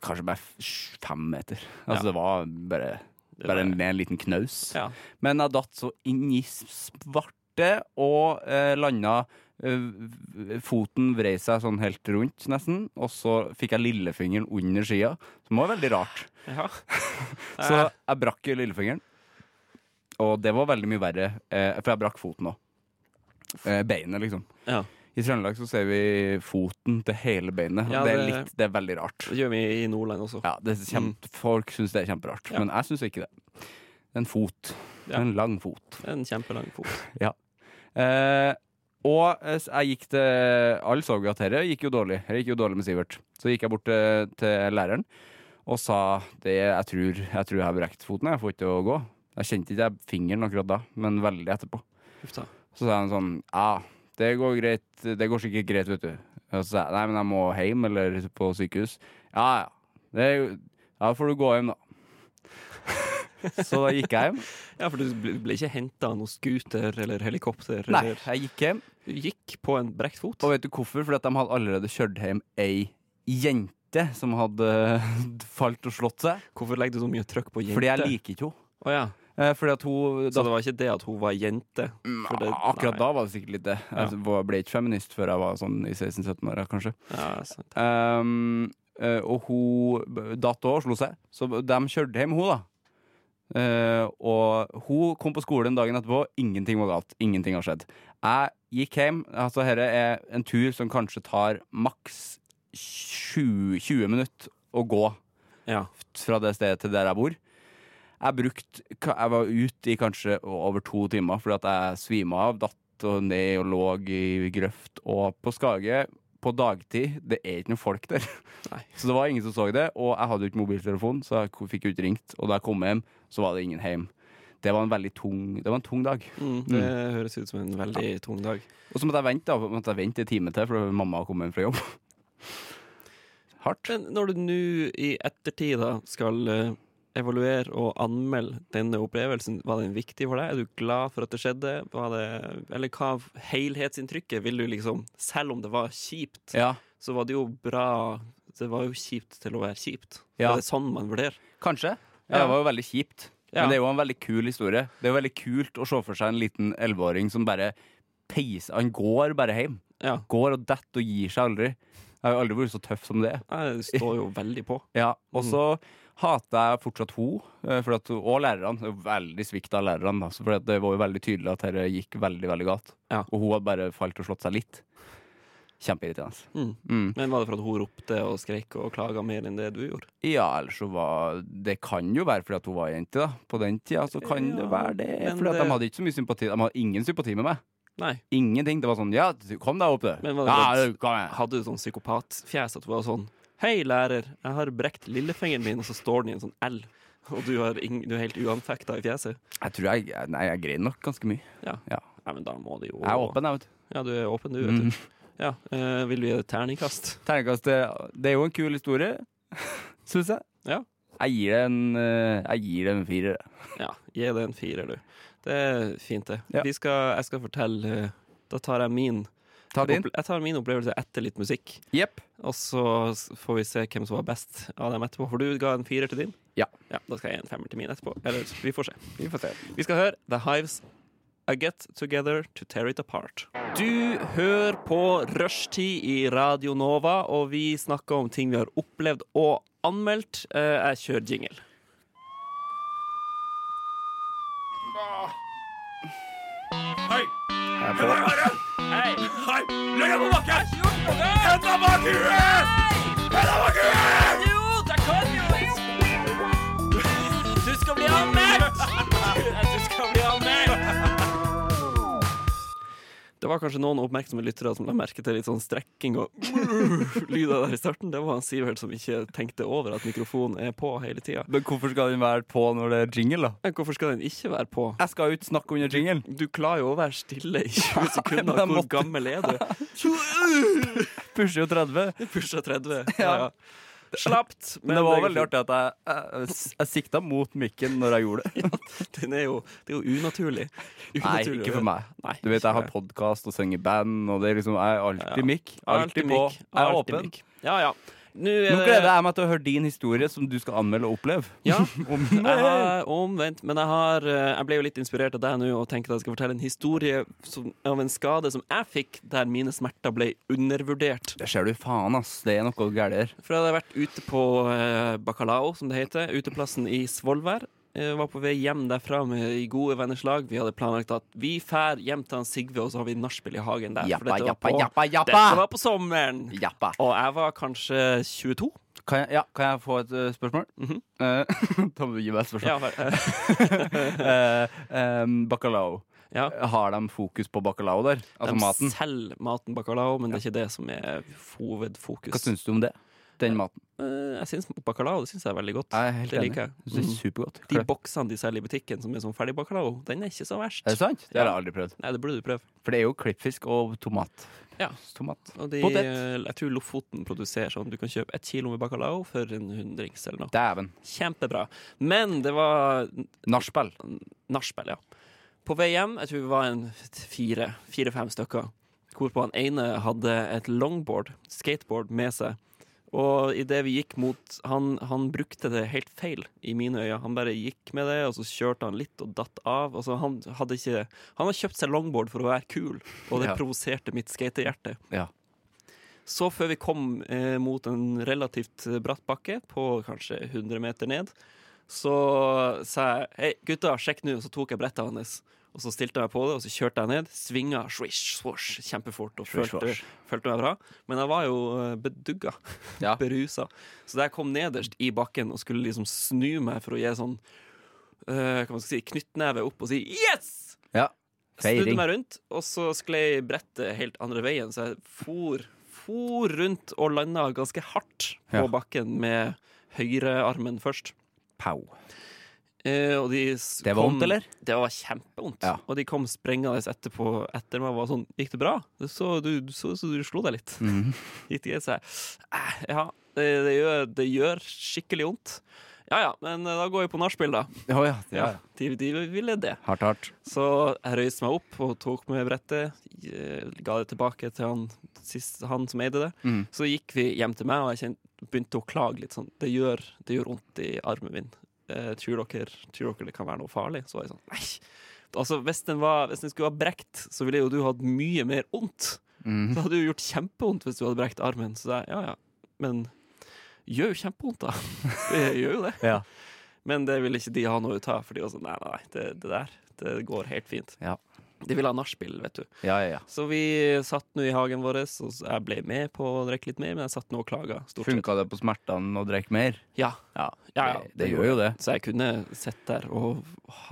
Kanskje bare f- fem meter.
Ja.
Altså, det var bare
Det
Bare
var-
med en liten knaus.
Ja.
Men jeg datt så inn i svarte og eh, landa eh, Foten vrei seg sånn helt rundt, nesten. Og så fikk jeg lillefingeren under skia, som var veldig rart.
ja.
Så jeg brakk lillefingeren. Og det var veldig mye verre, eh, for jeg brakk foten òg. Eh, beinet, liksom.
Ja.
I Trøndelag så ser vi foten til hele beinet.
Ja,
det, er
det-
litt, det er veldig rart.
Det gjør vi i Nordland også.
Ja, det er kjem, Folk syns det er kjemperart,
Mm. Ja.
men jeg syns ikke det. Det er En fot. Det er
Ja.
En lang fot.
Det er En kjempelang fot.
Eh, og eh, s- jeg gikk til Alle så jo at dette gikk jo dårlig. Det gikk jo dårlig med Sivert. Så gikk jeg bort til, til læreren og sa det, jeg, tror, jeg tror jeg har brekt foten. Jeg får ikke til å gå. Jeg kjente ikke fingeren akkurat da, men veldig etterpå.
Uff da.
Så sa han sånn Ja, det går greit. Det går sikkert greit, vet du. Og så sa jeg nei, men jeg må hjem eller på sykehus. Ja, ja. Det, er jo- da får du gå hjem, da. så da gikk jeg hjem.
Ja, for du ble, ble ikke henta av noe scooter eller helikopter?
Nei,
Eller,
jeg gikk hjem.
du gikk på en brekt fot?
Og vet du hvorfor? Fordi at de hadde allerede kjørt hjem ei jente som hadde eh, falt og slått seg.
Hvorfor legger du så mye trøkk på jente?
Fordi jeg liker ikke henne.
Å ja.
Eh, Fordi at hun
Så det var ikke det at hun var jente? For det-
Akkurat
nei.
da var det sikkert litt det.
Ja.
Jeg var- ble ikke feminist før jeg var sånn i 16-17 år, kanskje.
Ja, altså, sant.
Um, eh, og hun b- datt òg og slo seg, så b- de kjørte hjem hun, da. Eh, og hun kom på skolen dagen etterpå, ingenting var galt. Ingenting har skjedd. Jeg gikk hjem. Altså, dette er en tur som kanskje tar maks 20, 20 minutter å gå
Ja.
fra det stedet til der jeg bor. Jeg brukte ka- Jeg var ute i kanskje over to timer fordi at jeg svima av, datt og ned og lå i grøft. Og på Skage, på dagtid, det er ikke noen folk der.
Nei.
Så det var ingen som så det, og jeg hadde jo ikke mobiltelefon, så jeg ko- fikk jo ikke ringt. Og da jeg kom hjem, så var det ingen hjem. Det var en veldig tung, det var en tung dag.
Mm, det høres ut som en veldig tung dag.
Og så måtte jeg vente da, måtte jeg vente en time til, for mamma kom hjem fra jobb. Hardt.
Men når du nå i ettertid da skal eh, evaluere og anmelde denne opplevelsen, var den viktig for deg? Er du glad for at det skjedde? Var det, eller hva av helhetsinntrykket vil du liksom Selv om det var kjipt,
Ja.
så var det jo bra Det var jo kjipt til å være kjipt.
Ja.
Er det sånn man vurderer?
Kanskje. Ja,
Ja.
det var jo veldig kjipt.
Ja.
Men det er jo en veldig kul historie. Det er jo veldig kult å se for seg en liten elleveåring som bare peiser Han går bare hjem.
Ja.
Går og detter og gir seg aldri. Jeg har jo aldri vært så tøff som det.
Jeg står jo veldig på.
Ja, Og så hater jeg fortsatt hun, eh, fordi at, og lærerne. Det er jo Veldig svikt av lærerne, da. For det var jo veldig tydelig at dette gikk veldig, veldig galt.
Ja.
Og hun hadde bare falt og slått seg litt. Kjempeirriterende.
Mm.
Mm.
Men var det for at hun ropte og skreik og klaga mer enn det du gjorde?
Ja, ellers så var Det kan jo være fordi at hun var jente, da. På den tida så kan
Ja,
det være det.
men
Fordi at
det-
de hadde ikke så mye sympati. De hadde ingen sympati med meg.
Nei.
Ingenting. Det var sånn Ja, du- kom deg opp, du.
Men var det
ja,
godt?
du, kom igjen.
hadde du sånn psykopatfjes at du var sånn Hei, lærer, jeg har brekt lillefingeren min, og så står den i en sånn L. Og du, har ing du er helt uanfekta i fjeset.
Jeg tror jeg Nei, jeg grein nok ganske mye.
Nei, men da må det jo
Jeg er åpen, jeg, vet du. Mm.
Ja, du er åpen, du, vet du. Ja, eh, Vil du gi det et terningkast?
Terningkast det- Det er jo en kul historie, syns jeg.
Ja.
Jeg gir det en eh, Jeg gir det en firer.
Ja, gi det en firer, du. Det er fint, det.
Ja.
Vi skal, jeg skal fortelle eh, Da tar jeg min
Ta din.
Opple- Jeg tar min opplevelse etter litt musikk,
Jepp.
og så s- får vi se hvem som var best av dem etterpå. For du ga en firer til din?
Ja.
ja. Da skal jeg gi en femmer til min etterpå. Eller vi får se.
Vi får se.
Vi skal høre The Hives I Get Together To Tear It Apart. Du hører på Rushtid i Radio Nova, og vi snakker om ting vi har opplevd og anmeldt. Eh, Jeg kjører jingle.
Hei! Hva er det? Hei! Legg deg på bakken! Henda bak huet! Henda bak huet!
Du skal bli anmeldt! Du skal bli anmeldt! Det var kanskje noen oppmerksomme lyttere som la merke til litt sånn strekking og lyder der i starten. Det var han Sivert som ikke tenkte over at mikrofonen er på hele tida.
Men hvorfor skal den være på når det er jingle, da?
Hvorfor skal den ikke være på?
Jeg skal jo ikke snakke under jinglen.
Du klarer jo å være stille i 20
men
sekunder.
jeg
Hvor
måtte.
gammel er du?
Pusher jo 30.
Pusha 30. Ja, ja. Slapt.
Men det var veldig artig at jeg, jeg, jeg, sikta mot mikken når jeg gjorde det.
Den er jo, det er jo unaturlig.
Nei,
Unaturlig å
ikke
gjøre.
for meg.
Nei,
Du vet,
ikke
jeg har
det.
podkast og synger i band, og det er liksom, jeg er alltid
Ja.
mikk. Alltid på.
mic,
Jeg er
alltid
åpen.
mic. Ja, ja. Nå er
Nå gleder jeg meg til å høre din historie som du skal anmelde og oppleve.
Ja.
Om
Jeg har omvendt, men jeg, har, eh, jeg ble jo litt inspirert av deg nå og tenker at jeg skal fortelle en historie som, av en skade som jeg fikk, der mine smerter ble undervurdert.
Det ser du faen, ass. Det er noe galt her.
For jeg hadde vært ute på eh, Bacalao, som det heter, uteplassen i Svolvær. Jeg var på vei hjem derfra med i gode venners lag. Vi hadde planlagt at vi fær hjem til han Sigve, og så har vi nachspiel i hagen der.
Jappa,
dette var
jappa,
på-
jappa,
Dette
jappa!
var på sommeren.
Jappa.
Og jeg var kanskje 22.
Kan jeg, ja, kan jeg få et eh, spørsmål? Eh, da må du gi meg et spørsmål.
Mhm. Ja, vel, eh,
Eh, em, bacalao.
ja.
Har de fokus på bacalao der? Altså
De
maten?
selger maten bacalao, men det er ikke det som er hovedfokus.
Hva syns du om det? Den maten.
Eh, Jeg syns bacalao det synes jeg er veldig godt.
Jeg er helt
det
enig.
liker jeg. Mm. Mhm.
Jeg synes det er supergodt.
De
Er
boksene de selger i butikken som er sånn ferdig bacalao, den er ikke så verst.
det sant? Det har jeg aldri prøvd.
Nei, det burde du prøve.
For det er jo klippfisk og tomat.
Ja.
Tomat.
Og de,
Potet.
eh, jeg tror Lofoten produserer sånn. Du kan kjøpe et kilo med bacalao for en hundrings eller noe.
Dæven.
Kjempebra. Men det var
Nachspiel.
nachspiel, ja. På vei hjem, jeg tror vi var en fire, fire-fem stykker, hvorpå han ene hadde et longboard, skateboard, med seg. Og idet vi gikk mot han, han brukte det helt feil i mine øyne. Han bare gikk med det, og så kjørte han litt og datt av. Altså, han hadde ikke Han har kjøpt seg longboard for å være kul, og det
Ja.
provoserte mitt skatehjerte.
Ja.
Så før vi kom eh, mot en relativt eh, bratt bakke, på kanskje 100 meter ned, så sa jeg Hei, gutta, sjekk nå. Og så tok jeg brettet hans. Og så stilte jeg meg på det, og så kjørte jeg ned. Svinga swish, swosh, kjempefort. Og
Swish,
følte, følte meg bra. Men jeg var jo eh, bedugga.
Ja.
Berusa. Så da jeg kom nederst i bakken og skulle liksom snu meg for å gi sånn eh, Hva man skal si, knyttneve opp og si yes!
ja.
Snudde
Feiring.
meg rundt, og så sklei brettet helt andre veien, så jeg for, for rundt og landa ganske hardt på
Ja.
bakken med høyrearmen først.
Pow.
Eh, og de s-
Det var
kom-
vondt, eller?
Det var kjempevondt.
Ja.
Og de kom sprengende etterpå etter meg og var sånn 'Gikk det bra?' Det så du, du, så, så du slo deg litt.
Mhm.
Gikk det greit? Så jeg «Eh, Ja, det, det, gjør, det gjør skikkelig vondt. Ja ja, men eh, da går vi på nachspiel, da.
Å ja. ja.
De, de ville det.
Hardt, hardt.
Så jeg røyste meg opp og tok med brettet. eh, Ga det tilbake til han, sist, han som eide det.
Mm.
Så gikk vi hjem til meg, og jeg kjente, begynte å klage litt sånn. Det gjør, det gjør vondt i armen min. Eh, tror, dere, tror dere det kan være noe farlig? Så var jeg sånn, nei. Altså, hvis den, var, hvis den skulle ha brekt, så ville jo du hatt mye mer vondt.
Mhm.
Det hadde jo gjort kjempevondt hvis du hadde brekt armen. Så jeg, ja, ja. Men gjør jo kjempevondt, da. Det gjør jo det.
Ja.
Men det ville ikke de ha noe ut av, for de var sånn nei, nei, nei, det, det der det går helt fint.
Ja.
De ville ha nachspiel, vet du.
ja, ja, ja.
Så vi satt nå i hagen vår, og så jeg ble med på å drikke litt mer, men jeg satt nå og klaga. Stort sett.
Funka det på smertene å drikke mer?
Ja.
Ja.
Ja, ja.
Det, det gjør jo det.
Så jeg kunne sitte der og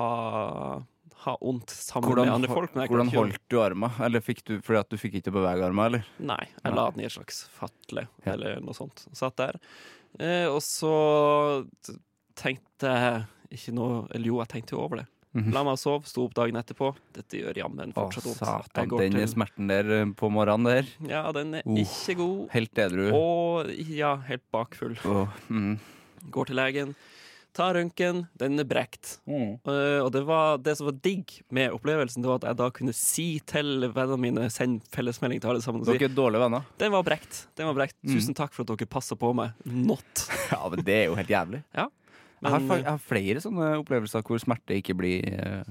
ha ha vondt sammen
Hvordan,
med andre
hol-
folk. Men jeg kan
hvordan
ikke-
holdt du arma? Eller fikk du fordi at du fikk ikke bevege arma, eller?
Nei, jeg la den i et slags fatle
Ja.
eller noe sånt. Satt der. Eh, og så t- tenkte jeg ikke noe Eller jo, jeg tenkte jo over det.
Mhm.
La meg sove, sto opp dagen etterpå. Dette gjør jammen
Å,
fortsatt vondt. Jeg
satan.
går
Den
til-
smerten der eh, på morgenen der.
Ja, den er
Uff.
ikke god.
Helt edru.
Og ja, helt bakfull.
Åh, mm.
Går til legen. Ta røntgen, den er brekt.
Mm.
Eh, og det, var, det som var digg med opplevelsen, det var at jeg da kunne si til vennene mine Send fellesmelding til alle sammen. Og si,
Dere er dårlige venner.
den var brekt. Den var brekt.
Mm.
Tusen takk for at dere passa på meg. Not.
Ja, men det er jo helt jævlig.
Ja.
jeg, har,
Men,
fa- jeg har flere sånne opplevelser hvor smerte ikke blir eh,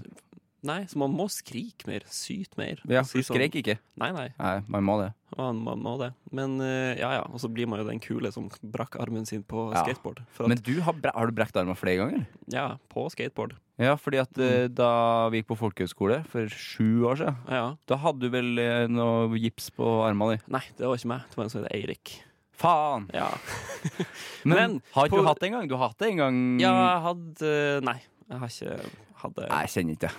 Nei, så man må skrike mer. Syte mer.
Ja,
og si
du
sånn-
skrek ikke.
Nei, nei.
Nei, man må det.
Man, man må det. Men eh, ja, ja. Og så blir man jo den kule som brakk armen sin på
Ja.
skateboard. For at,
Men du har, bre- har du brekt armen flere ganger?
ja, på skateboard.
Ja, fordi at eh, da vi gikk på folkehøyskole for sju år siden,
Ja.
da hadde du vel eh, noe gips på armene dine.
Nei, det var ikke meg. Det var en som het Eirik.
Faen!
Ja.
Men,
Men
har ikke
på-
du hatt det engang? Du har hatt det en gang
ja, jeg hadde Nei, jeg har ikke hatt det.
Nei, jeg kjenner ikke det.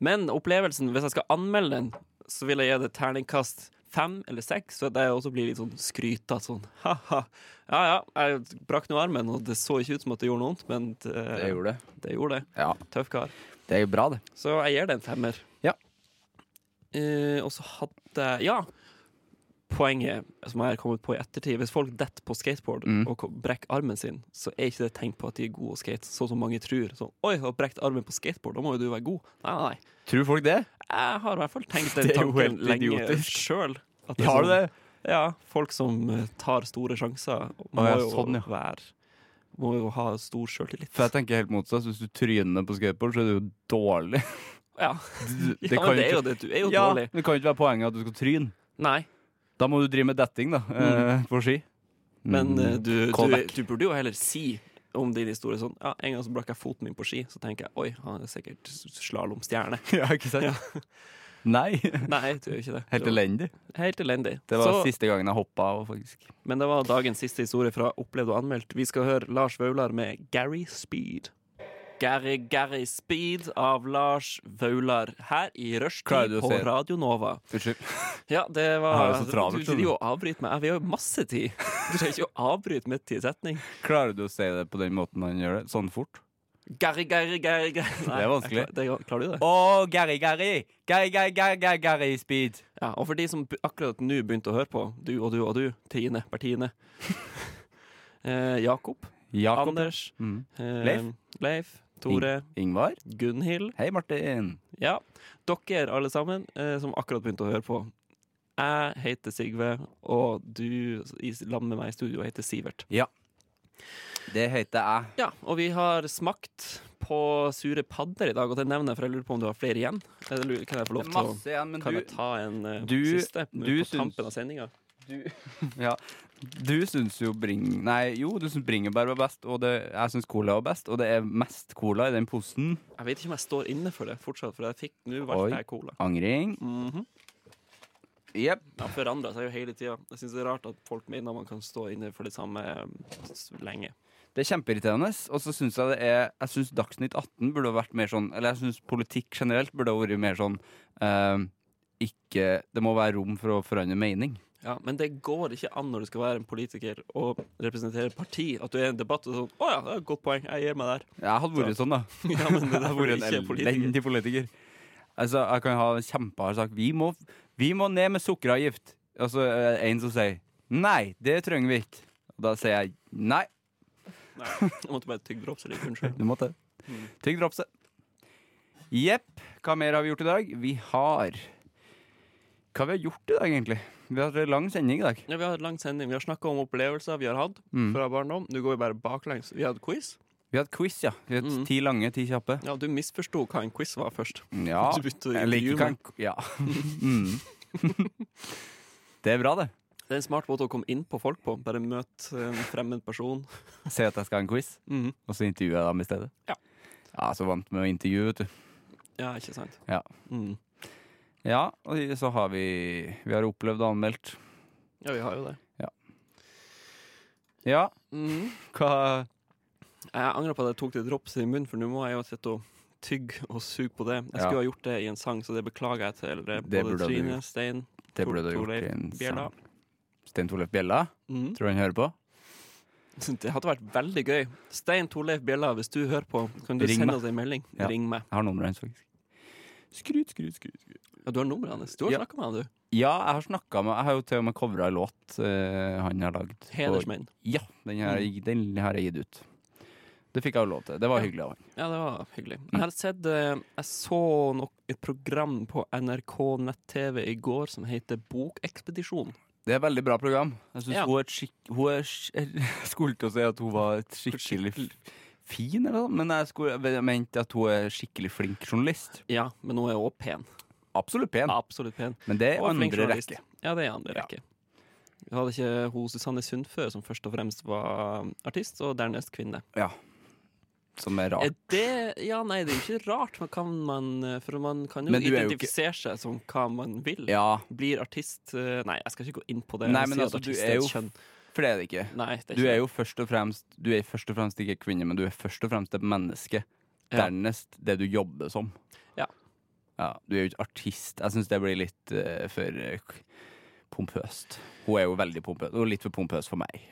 Men opplevelsen, hvis jeg skal anmelde den, så vil jeg gi det terningkast fem eller seks, så det også blir litt sånn skrytete. Sånn ha-ha. Ja ja, jeg brakk nå armen, og det så ikke ut som at det gjorde noe vondt, men det,
Jeg gjorde det.
det gjorde det.
Ja,
Tøff kar.
det er jo bra, det.
Så jeg gir det en femmer.
Ja.
Eh, og så hadde jeg Ja! Poenget som jeg har kommet på i ettertid Hvis folk detter på skateboard
Mm.
og ko- brekker armen sin, så er ikke det et tegn på at de er gode å skate, sånn som mange tror. Sånn, 'Oi, har brekt armen på skateboard, da må jo du være god.' Nei, nei, nei.
Tror folk det?
Jeg har i hvert fall tenkt den
Det er jo
tanken
helt
lenge
idiotisk.
sjøl.
Har du det?
sånn, Ja. Folk som eh, tar store sjanser, må
ja,
jo
sånn, ja.
være Må jo ha stor sjøltillit.
For jeg tenker helt motsatt. Hvis du tryner på skateboard, så er det jo dårlig.
Ja.
Du-
ja,
kan
men det er
ikke-
jo det. Du er jo
ja,
dårlig.
men Det kan jo ikke være poenget at du skal tryne.
Nei.
Da må du drive med detting, da. eh, På ski.
Men eh,
Mm.
du, du,
Callback.
du burde jo heller si om din historie sånn Ja, en gang så brakk jeg foten min på ski, så tenker jeg oi, han er sikkert slalåmstjerne.
Ja, ikke sant?
Ja.
Nei.
Nei, jeg tror ikke det.
Helt
Det var-
elendig.
Helt elendig.
Det var
så,
siste gangen jeg hoppa, faktisk.
men det var dagens siste historie fra Opplevd og anmeldt. Vi skal høre Lars Vaular med Gary Speed. Gary Gary Speed av Lars Vaular her i
Klarer
rushtid
du å
på
si det?
Radio Nova.
Unnskyld.
Ja, det
Jeg
var
har det så travelt,
Du driver jo og avbryter meg. Vi har jo masse tid. Du trenger ikke å avbryte midt i setning.
Klarer du å si det på den måten han gjør det? Sånn fort?
Gary, Gary, Gary, Gary. Nei,
Det er vanskelig.
jeg Klar, det, klarer du det?
Å, Gary, Gary! Gary, Gary, Gary, Gary, Gary Speed.
Ja, og for de som be- akkurat nå begynte å høre på, du og du og du, Trine, Bertine, eh, Jakob,
Jakob.
Anders,
Mm.
eh,
Leif.
Leif, Tore,
Ingvar.
Gunhild.
Hei, Martin.
Ja, dere alle sammen eh, som akkurat begynte å høre på. Jeg heter Sigve, og du i lag med meg i studio heter Sivert.
Det heter jeg.
Ja, og vi har smakt på sure padder i dag, og det nevner jeg, for jeg lurer på om du har flere igjen. Eller lurer- Kan jeg
Det
få lov
er
til å
masse igjen, men
Kan
du
jeg ta en eh,
du-
siste nå
du
på
syns-
tampen av sendinga?
Ja, du syns jo bring... Nei, jo, du syns bringebær var best, og det, jeg syns cola var best, og det er mest cola i den posen.
Jeg vet ikke om jeg står inne for det fortsatt, for jeg fikk nå
Oi.
valgte jeg cola.
Angring.
Mhm.
Jepp.
Det har forandra seg jo hele tida. Jeg syns det er rart at folk mener man kan stå inne for det samme eh, s- lenge.
Det er kjempeirriterende. Og så syns jeg det er Jeg syns Dagsnytt 18 burde ha vært mer sånn Eller jeg syns politikk generelt burde ha vært mer sånn eh, Ikke Det må være rom for å forandre mening.
Ja, Men det går ikke an når du skal være en politiker og representere et parti, at du er i en debatt og sånn 'Å ja, det er et godt poeng. Jeg gir meg der'.
Jeg hadde vært sånn, da.
ja, men
Jeg
det er derfor du
hadde
ikke er
vært en
politiker.
elendig politiker. Altså, jeg kan ha en kjempehard sak. Vi må, vi må ned med sukkeravgift. Og så er det en som sier nei, det trenger vi ikke. Og da sier jeg nei.
Nei, jeg måtte bare tygge dropser litt. Unnskyld.
Du måtte
Mm.
tygg dropset. Jepp. Hva mer har vi gjort i dag? Vi har Hva vi har gjort i dag, egentlig? Vi har hatt en lang sending i dag.
Ja, vi har hatt lang sending. Vi har snakka om opplevelser vi har hatt
Mm.
fra barndom. Nå går vi bare baklengs. Vi hadde quiz.
Vi har hatt quiz, ja. Vi har hatt
Mm.
Ti lange, ti kjappe.
Ja, du misforsto hva en quiz var først.
Ja.
Du begynte å
Jeg liker
intervjue
kan, ja. mm. Det er bra, det.
Det er en smart måte å komme inn på folk på. Bare møte en fremmed person.
Si at jeg skal ha en quiz.
Mhm.
Og så intervjuer jeg dem i stedet.
Ja.
Ja, Så vant med å intervjue, vet du.
Ja, ikke sant?
Ja.
Mm.
Ja, og så har vi Vi har opplevd og anmeldt.
ja, vi har jo det.
Ja,
Mm.
hva
Jeg angrer på at jeg tok det drops i munnen, for nå må jeg jo sitte og tygge og suge på det.
Ja.
Jeg skulle ha gjort det i en sang, så det beklager jeg til eh,
Det
både
burde du
Trine,
gjort.
Stein,
Det
Tor-
burde du ha gjort
Torleif
i en
Bjella.
sang. Stein Torleif Bjella?
Mm.
Tror du han hører på?
Det hadde vært veldig gøy. Stein Torleif Bjella, hvis du hører på, kan du
Ring
sende
meg.
oss en melding?
Ja.
Ring meg.
Jeg har nummeret hans, faktisk. Skryt, skryt, skryt. skryt.
Ja, du har nummeret hans. Du har
Ja.
snakket med han, du.
Ja, jeg har snakka med Jeg har jo til og med covra en låt eh, han har lagd. Mm. Og-
Hedersmenn.
Ja, den har, jeg- den har jeg gitt ut. Det fikk jeg jo lov til. Det var hyggelig av han.
Ja, det var hyggelig.
Mm.
Jeg har sett eh, Jeg så nok et program på NRK nett-TV i går som heter Bokekspedisjon.
Det er et veldig bra program. Jeg synes
Ja.
hun, er et skikk, hun er sk- Jeg skulle til å si at hun var et skikkelig f- fin, eller noe, men jeg, skulle, jeg mente at hun er skikkelig flink journalist.
Ja, men hun er også pen.
Absolutt pen,
Absolutt pen.
men det er
Og en flink
andre
journalist.
rekke.
Ja, det er i andre
Ja.
rekke. Vi hadde ikke hun Susanne Sundfør, som først og fremst var artist, og dernest kvinne.
Ja. Som er
Er
rart.
det Ja, nei, det er jo ikke rart, men kan man, for man kan jo
Men du er jo
identifisere seg som hva man vil.
Ja,
Blir artist eh, Nei, jeg skal ikke gå inn på det.
Nei,
Jeg
men
sier
altså,
at
du
artist
er
et
jo-
kjønn.
for det er det ikke.
Nei, det er
Du
ikke
er
det.
jo først og fremst Du er først og fremst ikke kvinne, men du er først og fremst et menneske.
Ja.
Dernest det du jobber som.
Ja.
Ja, Du er jo ikke artist. Jeg syns det blir litt eh, for eh, pompøst. Hun er jo veldig pompøs. Hun er litt for pompøs for meg.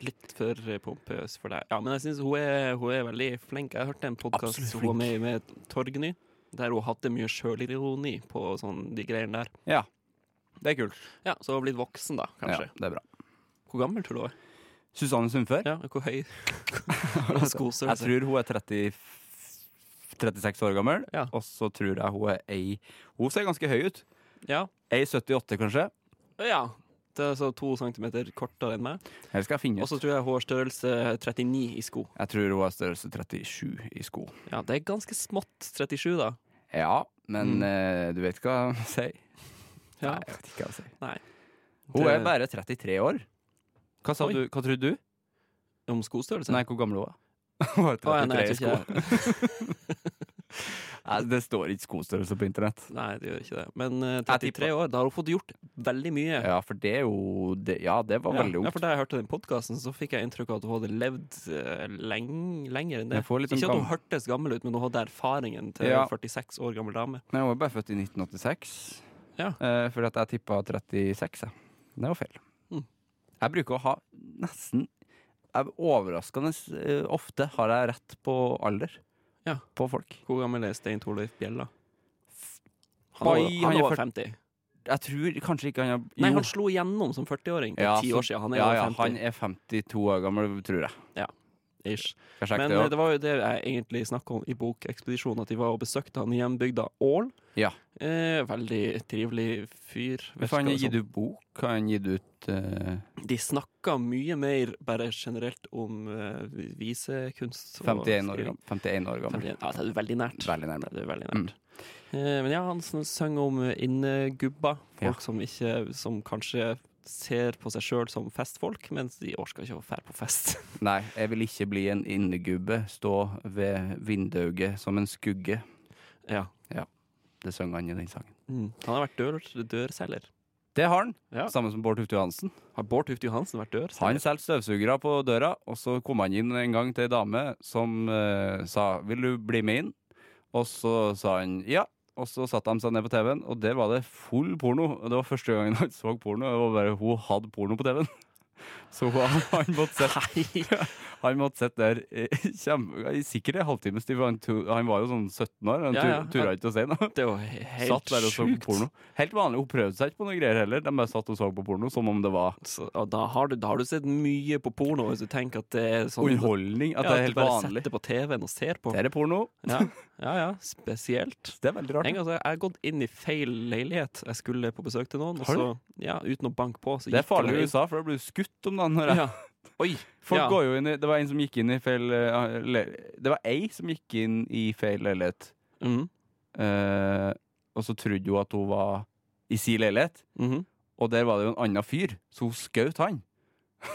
litt for eh, pompøs for deg. Ja, men jeg syns hun, er- hun er veldig flink. Jeg hørte en podkast
Absolutt
hun var med i med Torgny, der hun hadde mye sjølironi på sånn, de greiene der.
Ja. Det er kult.
Ja, Så hun har blitt voksen, da, kanskje.
Ja, det er bra.
Hvor gammel tror du hun er?
Susanne Sundfør.
Ja, hvor høy? Hvor skostørrelse?
Jeg tror hun er 30, 36 år gammel,
Ja.
og så tror jeg hun er ei Hun ser ganske høy ut.
Ja.
Ei 78, kanskje.
ja. Det er så to centimeter kortere enn meg.
Eller skal jeg eh, finne
Og
ut?
så tror jeg hun har størrelse 39 i sko.
Jeg tror hun har størrelse 37 i sko.
Ja, det er ganske smått 37, da.
Ja, men
Mm.
eh, du vet hva jeg sier.
Ja.
Nei, jeg vet ikke hva jeg sier.
Nei.
Hun
Det-
er bare 33 år. Hva sa
Oi.
du? Hva trodde du?
Om skostørrelse?
Nei, hvor gammel hun var? Hun var
Å, ja,
33
nei,
i
jeg
sko.
tror ikke
Nei, det står ikke skostørrelse på internett.
Nei, det gjør ikke det. Men eh,
Jeg
33 år, da har hun fått gjort veldig mye.
Ja, for det er jo det, Ja, det var
Ja,
veldig
Ja,
ungt.
for da jeg hørte den podkasten, så fikk jeg inntrykk av at hun hadde levd eh, leng, lenger enn det.
Jeg får litt sånn
Ikke at hun
gam-
hørtes gammel ut, men hun hadde erfaringen til
Ja.
46 år gammel dame.
Nei, hun var bare født i 1986.
Ja.
Eh, fordi at jeg tippa 36, jeg. Det var feil.
Mm.
Jeg bruker å ha nesten jeg, Overraskende eh, ofte har jeg rett på alder
Ja.
på folk.
Hvor gammel er Stein Torleif Bjella? Han,
Bai,
var-
han
han
er
er over
ført-
50.
Jeg tror kanskje ikke han har
Nei,
jo.
han slo igjennom som 40-åring. Det er
Ja,
ti
så-
år siden. Han er
ja, ja,
over 50.
han er 52 år gammel, tror jeg.
Ish.
Skal sjekke
Men
det
eh,
også.
det var jo det jeg egentlig snakka om i Bokekspedisjonen, at de var og besøkte han i hjembygda Ål.
Ja.
Eh, veldig trivelig fyr.
Hvis han har
virker det som.
gitt ut bok, har han gitt ut eh,
De snakka mye mer bare generelt om eh, visekunst. og
51, år,
skriving.
gam- 51 år gammel.
51. Ja, det er veldig nært.
Veldig nærme. Mm.
Det er veldig nært. Eh, men ja, han sn- sang om eh, innegubber.
Ja.
Folk som, ikke, som kanskje ser på seg sjøl som festfolk, mens de orker ikke å fære på fest.
Nei, jeg vil ikke bli en innegubbe, stå ved vinduet som en skugge.
ja.
Det synger han i den sangen.
mm. Han har vært dør, dørselger.
Det har han.
Ja.
Samme som Bård Tufte Johansen.
Har Bård Tufte Johansen vært
Han
dørselger?
solgte støvsugere på døra, og så kom han inn en gang til ei dame som eh, sa 'Vil du bli med inn?' Og så sa han ja. Og så satte de seg ned på TV-en, og der var det full porno. Og Det var første gangen han så porno. Det var bare Hun hadde porno på TV-en. Så hun, han måtte sitte Han måtte sitte der eh, kjempe, i sikkert en halvtimes tid, for han, tu- han var jo sånn 17 år. Han
Ja,
tur,
ja.
turte ikke å si noe.
Det er jo he-
Satt
helt
der og så på
sjukt.
porno. Helt vanlig. Hun prøvde seg ikke på noe greier heller. De bare satt og så på porno som om det var
Så, og da, har du, da har du sett mye på porno hvis du tenker at det er sånn
underholdning. At
ja,
det er
at
helt
du bare
vanlig.
setter på TV-en og ser på.
Det er porno.
Ja, ja, ja spesielt.
Det er veldig
En gang så har jeg gått inn i feil leilighet. Jeg skulle på besøk til noen, og
Har du
så, ja, uten å banke på. Så
Det er
gikk
farlig
bare
i
inn.
USA, for da blir du skutt om dagen. hører jeg.
Ja. Oi!
Folk
ja.
går jo inn i, det var en som gikk inn i feil eh, le- Det var ei som gikk inn i feil leilighet,
Mhm,
eh, og så trodde hun at hun var i si leilighet,
mhm.
og der var det jo en annen fyr, så hun skjøt han.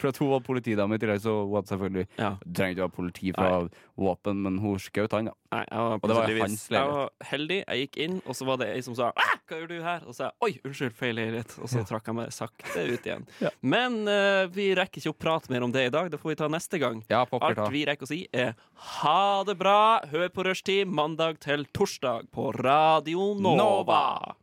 For at hun var politidame i tillegg, så hun hadde selvfølgelig
Ja.
Trengte ikke å ha politi for å ha våpen, men hun skjøt han, da.
Nei, jeg var,
Og det var
plutselig-
hans
Jeg
leilighet.
var heldig. Jeg gikk inn, og så var det ei som sa «Ah, 'Hva gjør du her?' Og så sa jeg 'Oi, unnskyld, feil leilighet'. Og så trakk jeg meg sakte ut igjen.
Ja.
Men eh, vi rekker ikke å prate mer om det i dag. Det får vi ta neste gang.
Ja, pokker ta.
Alt vi rekker å si, er ha det bra. Hør på Rushtid mandag til torsdag på Radio Nova.
Nova.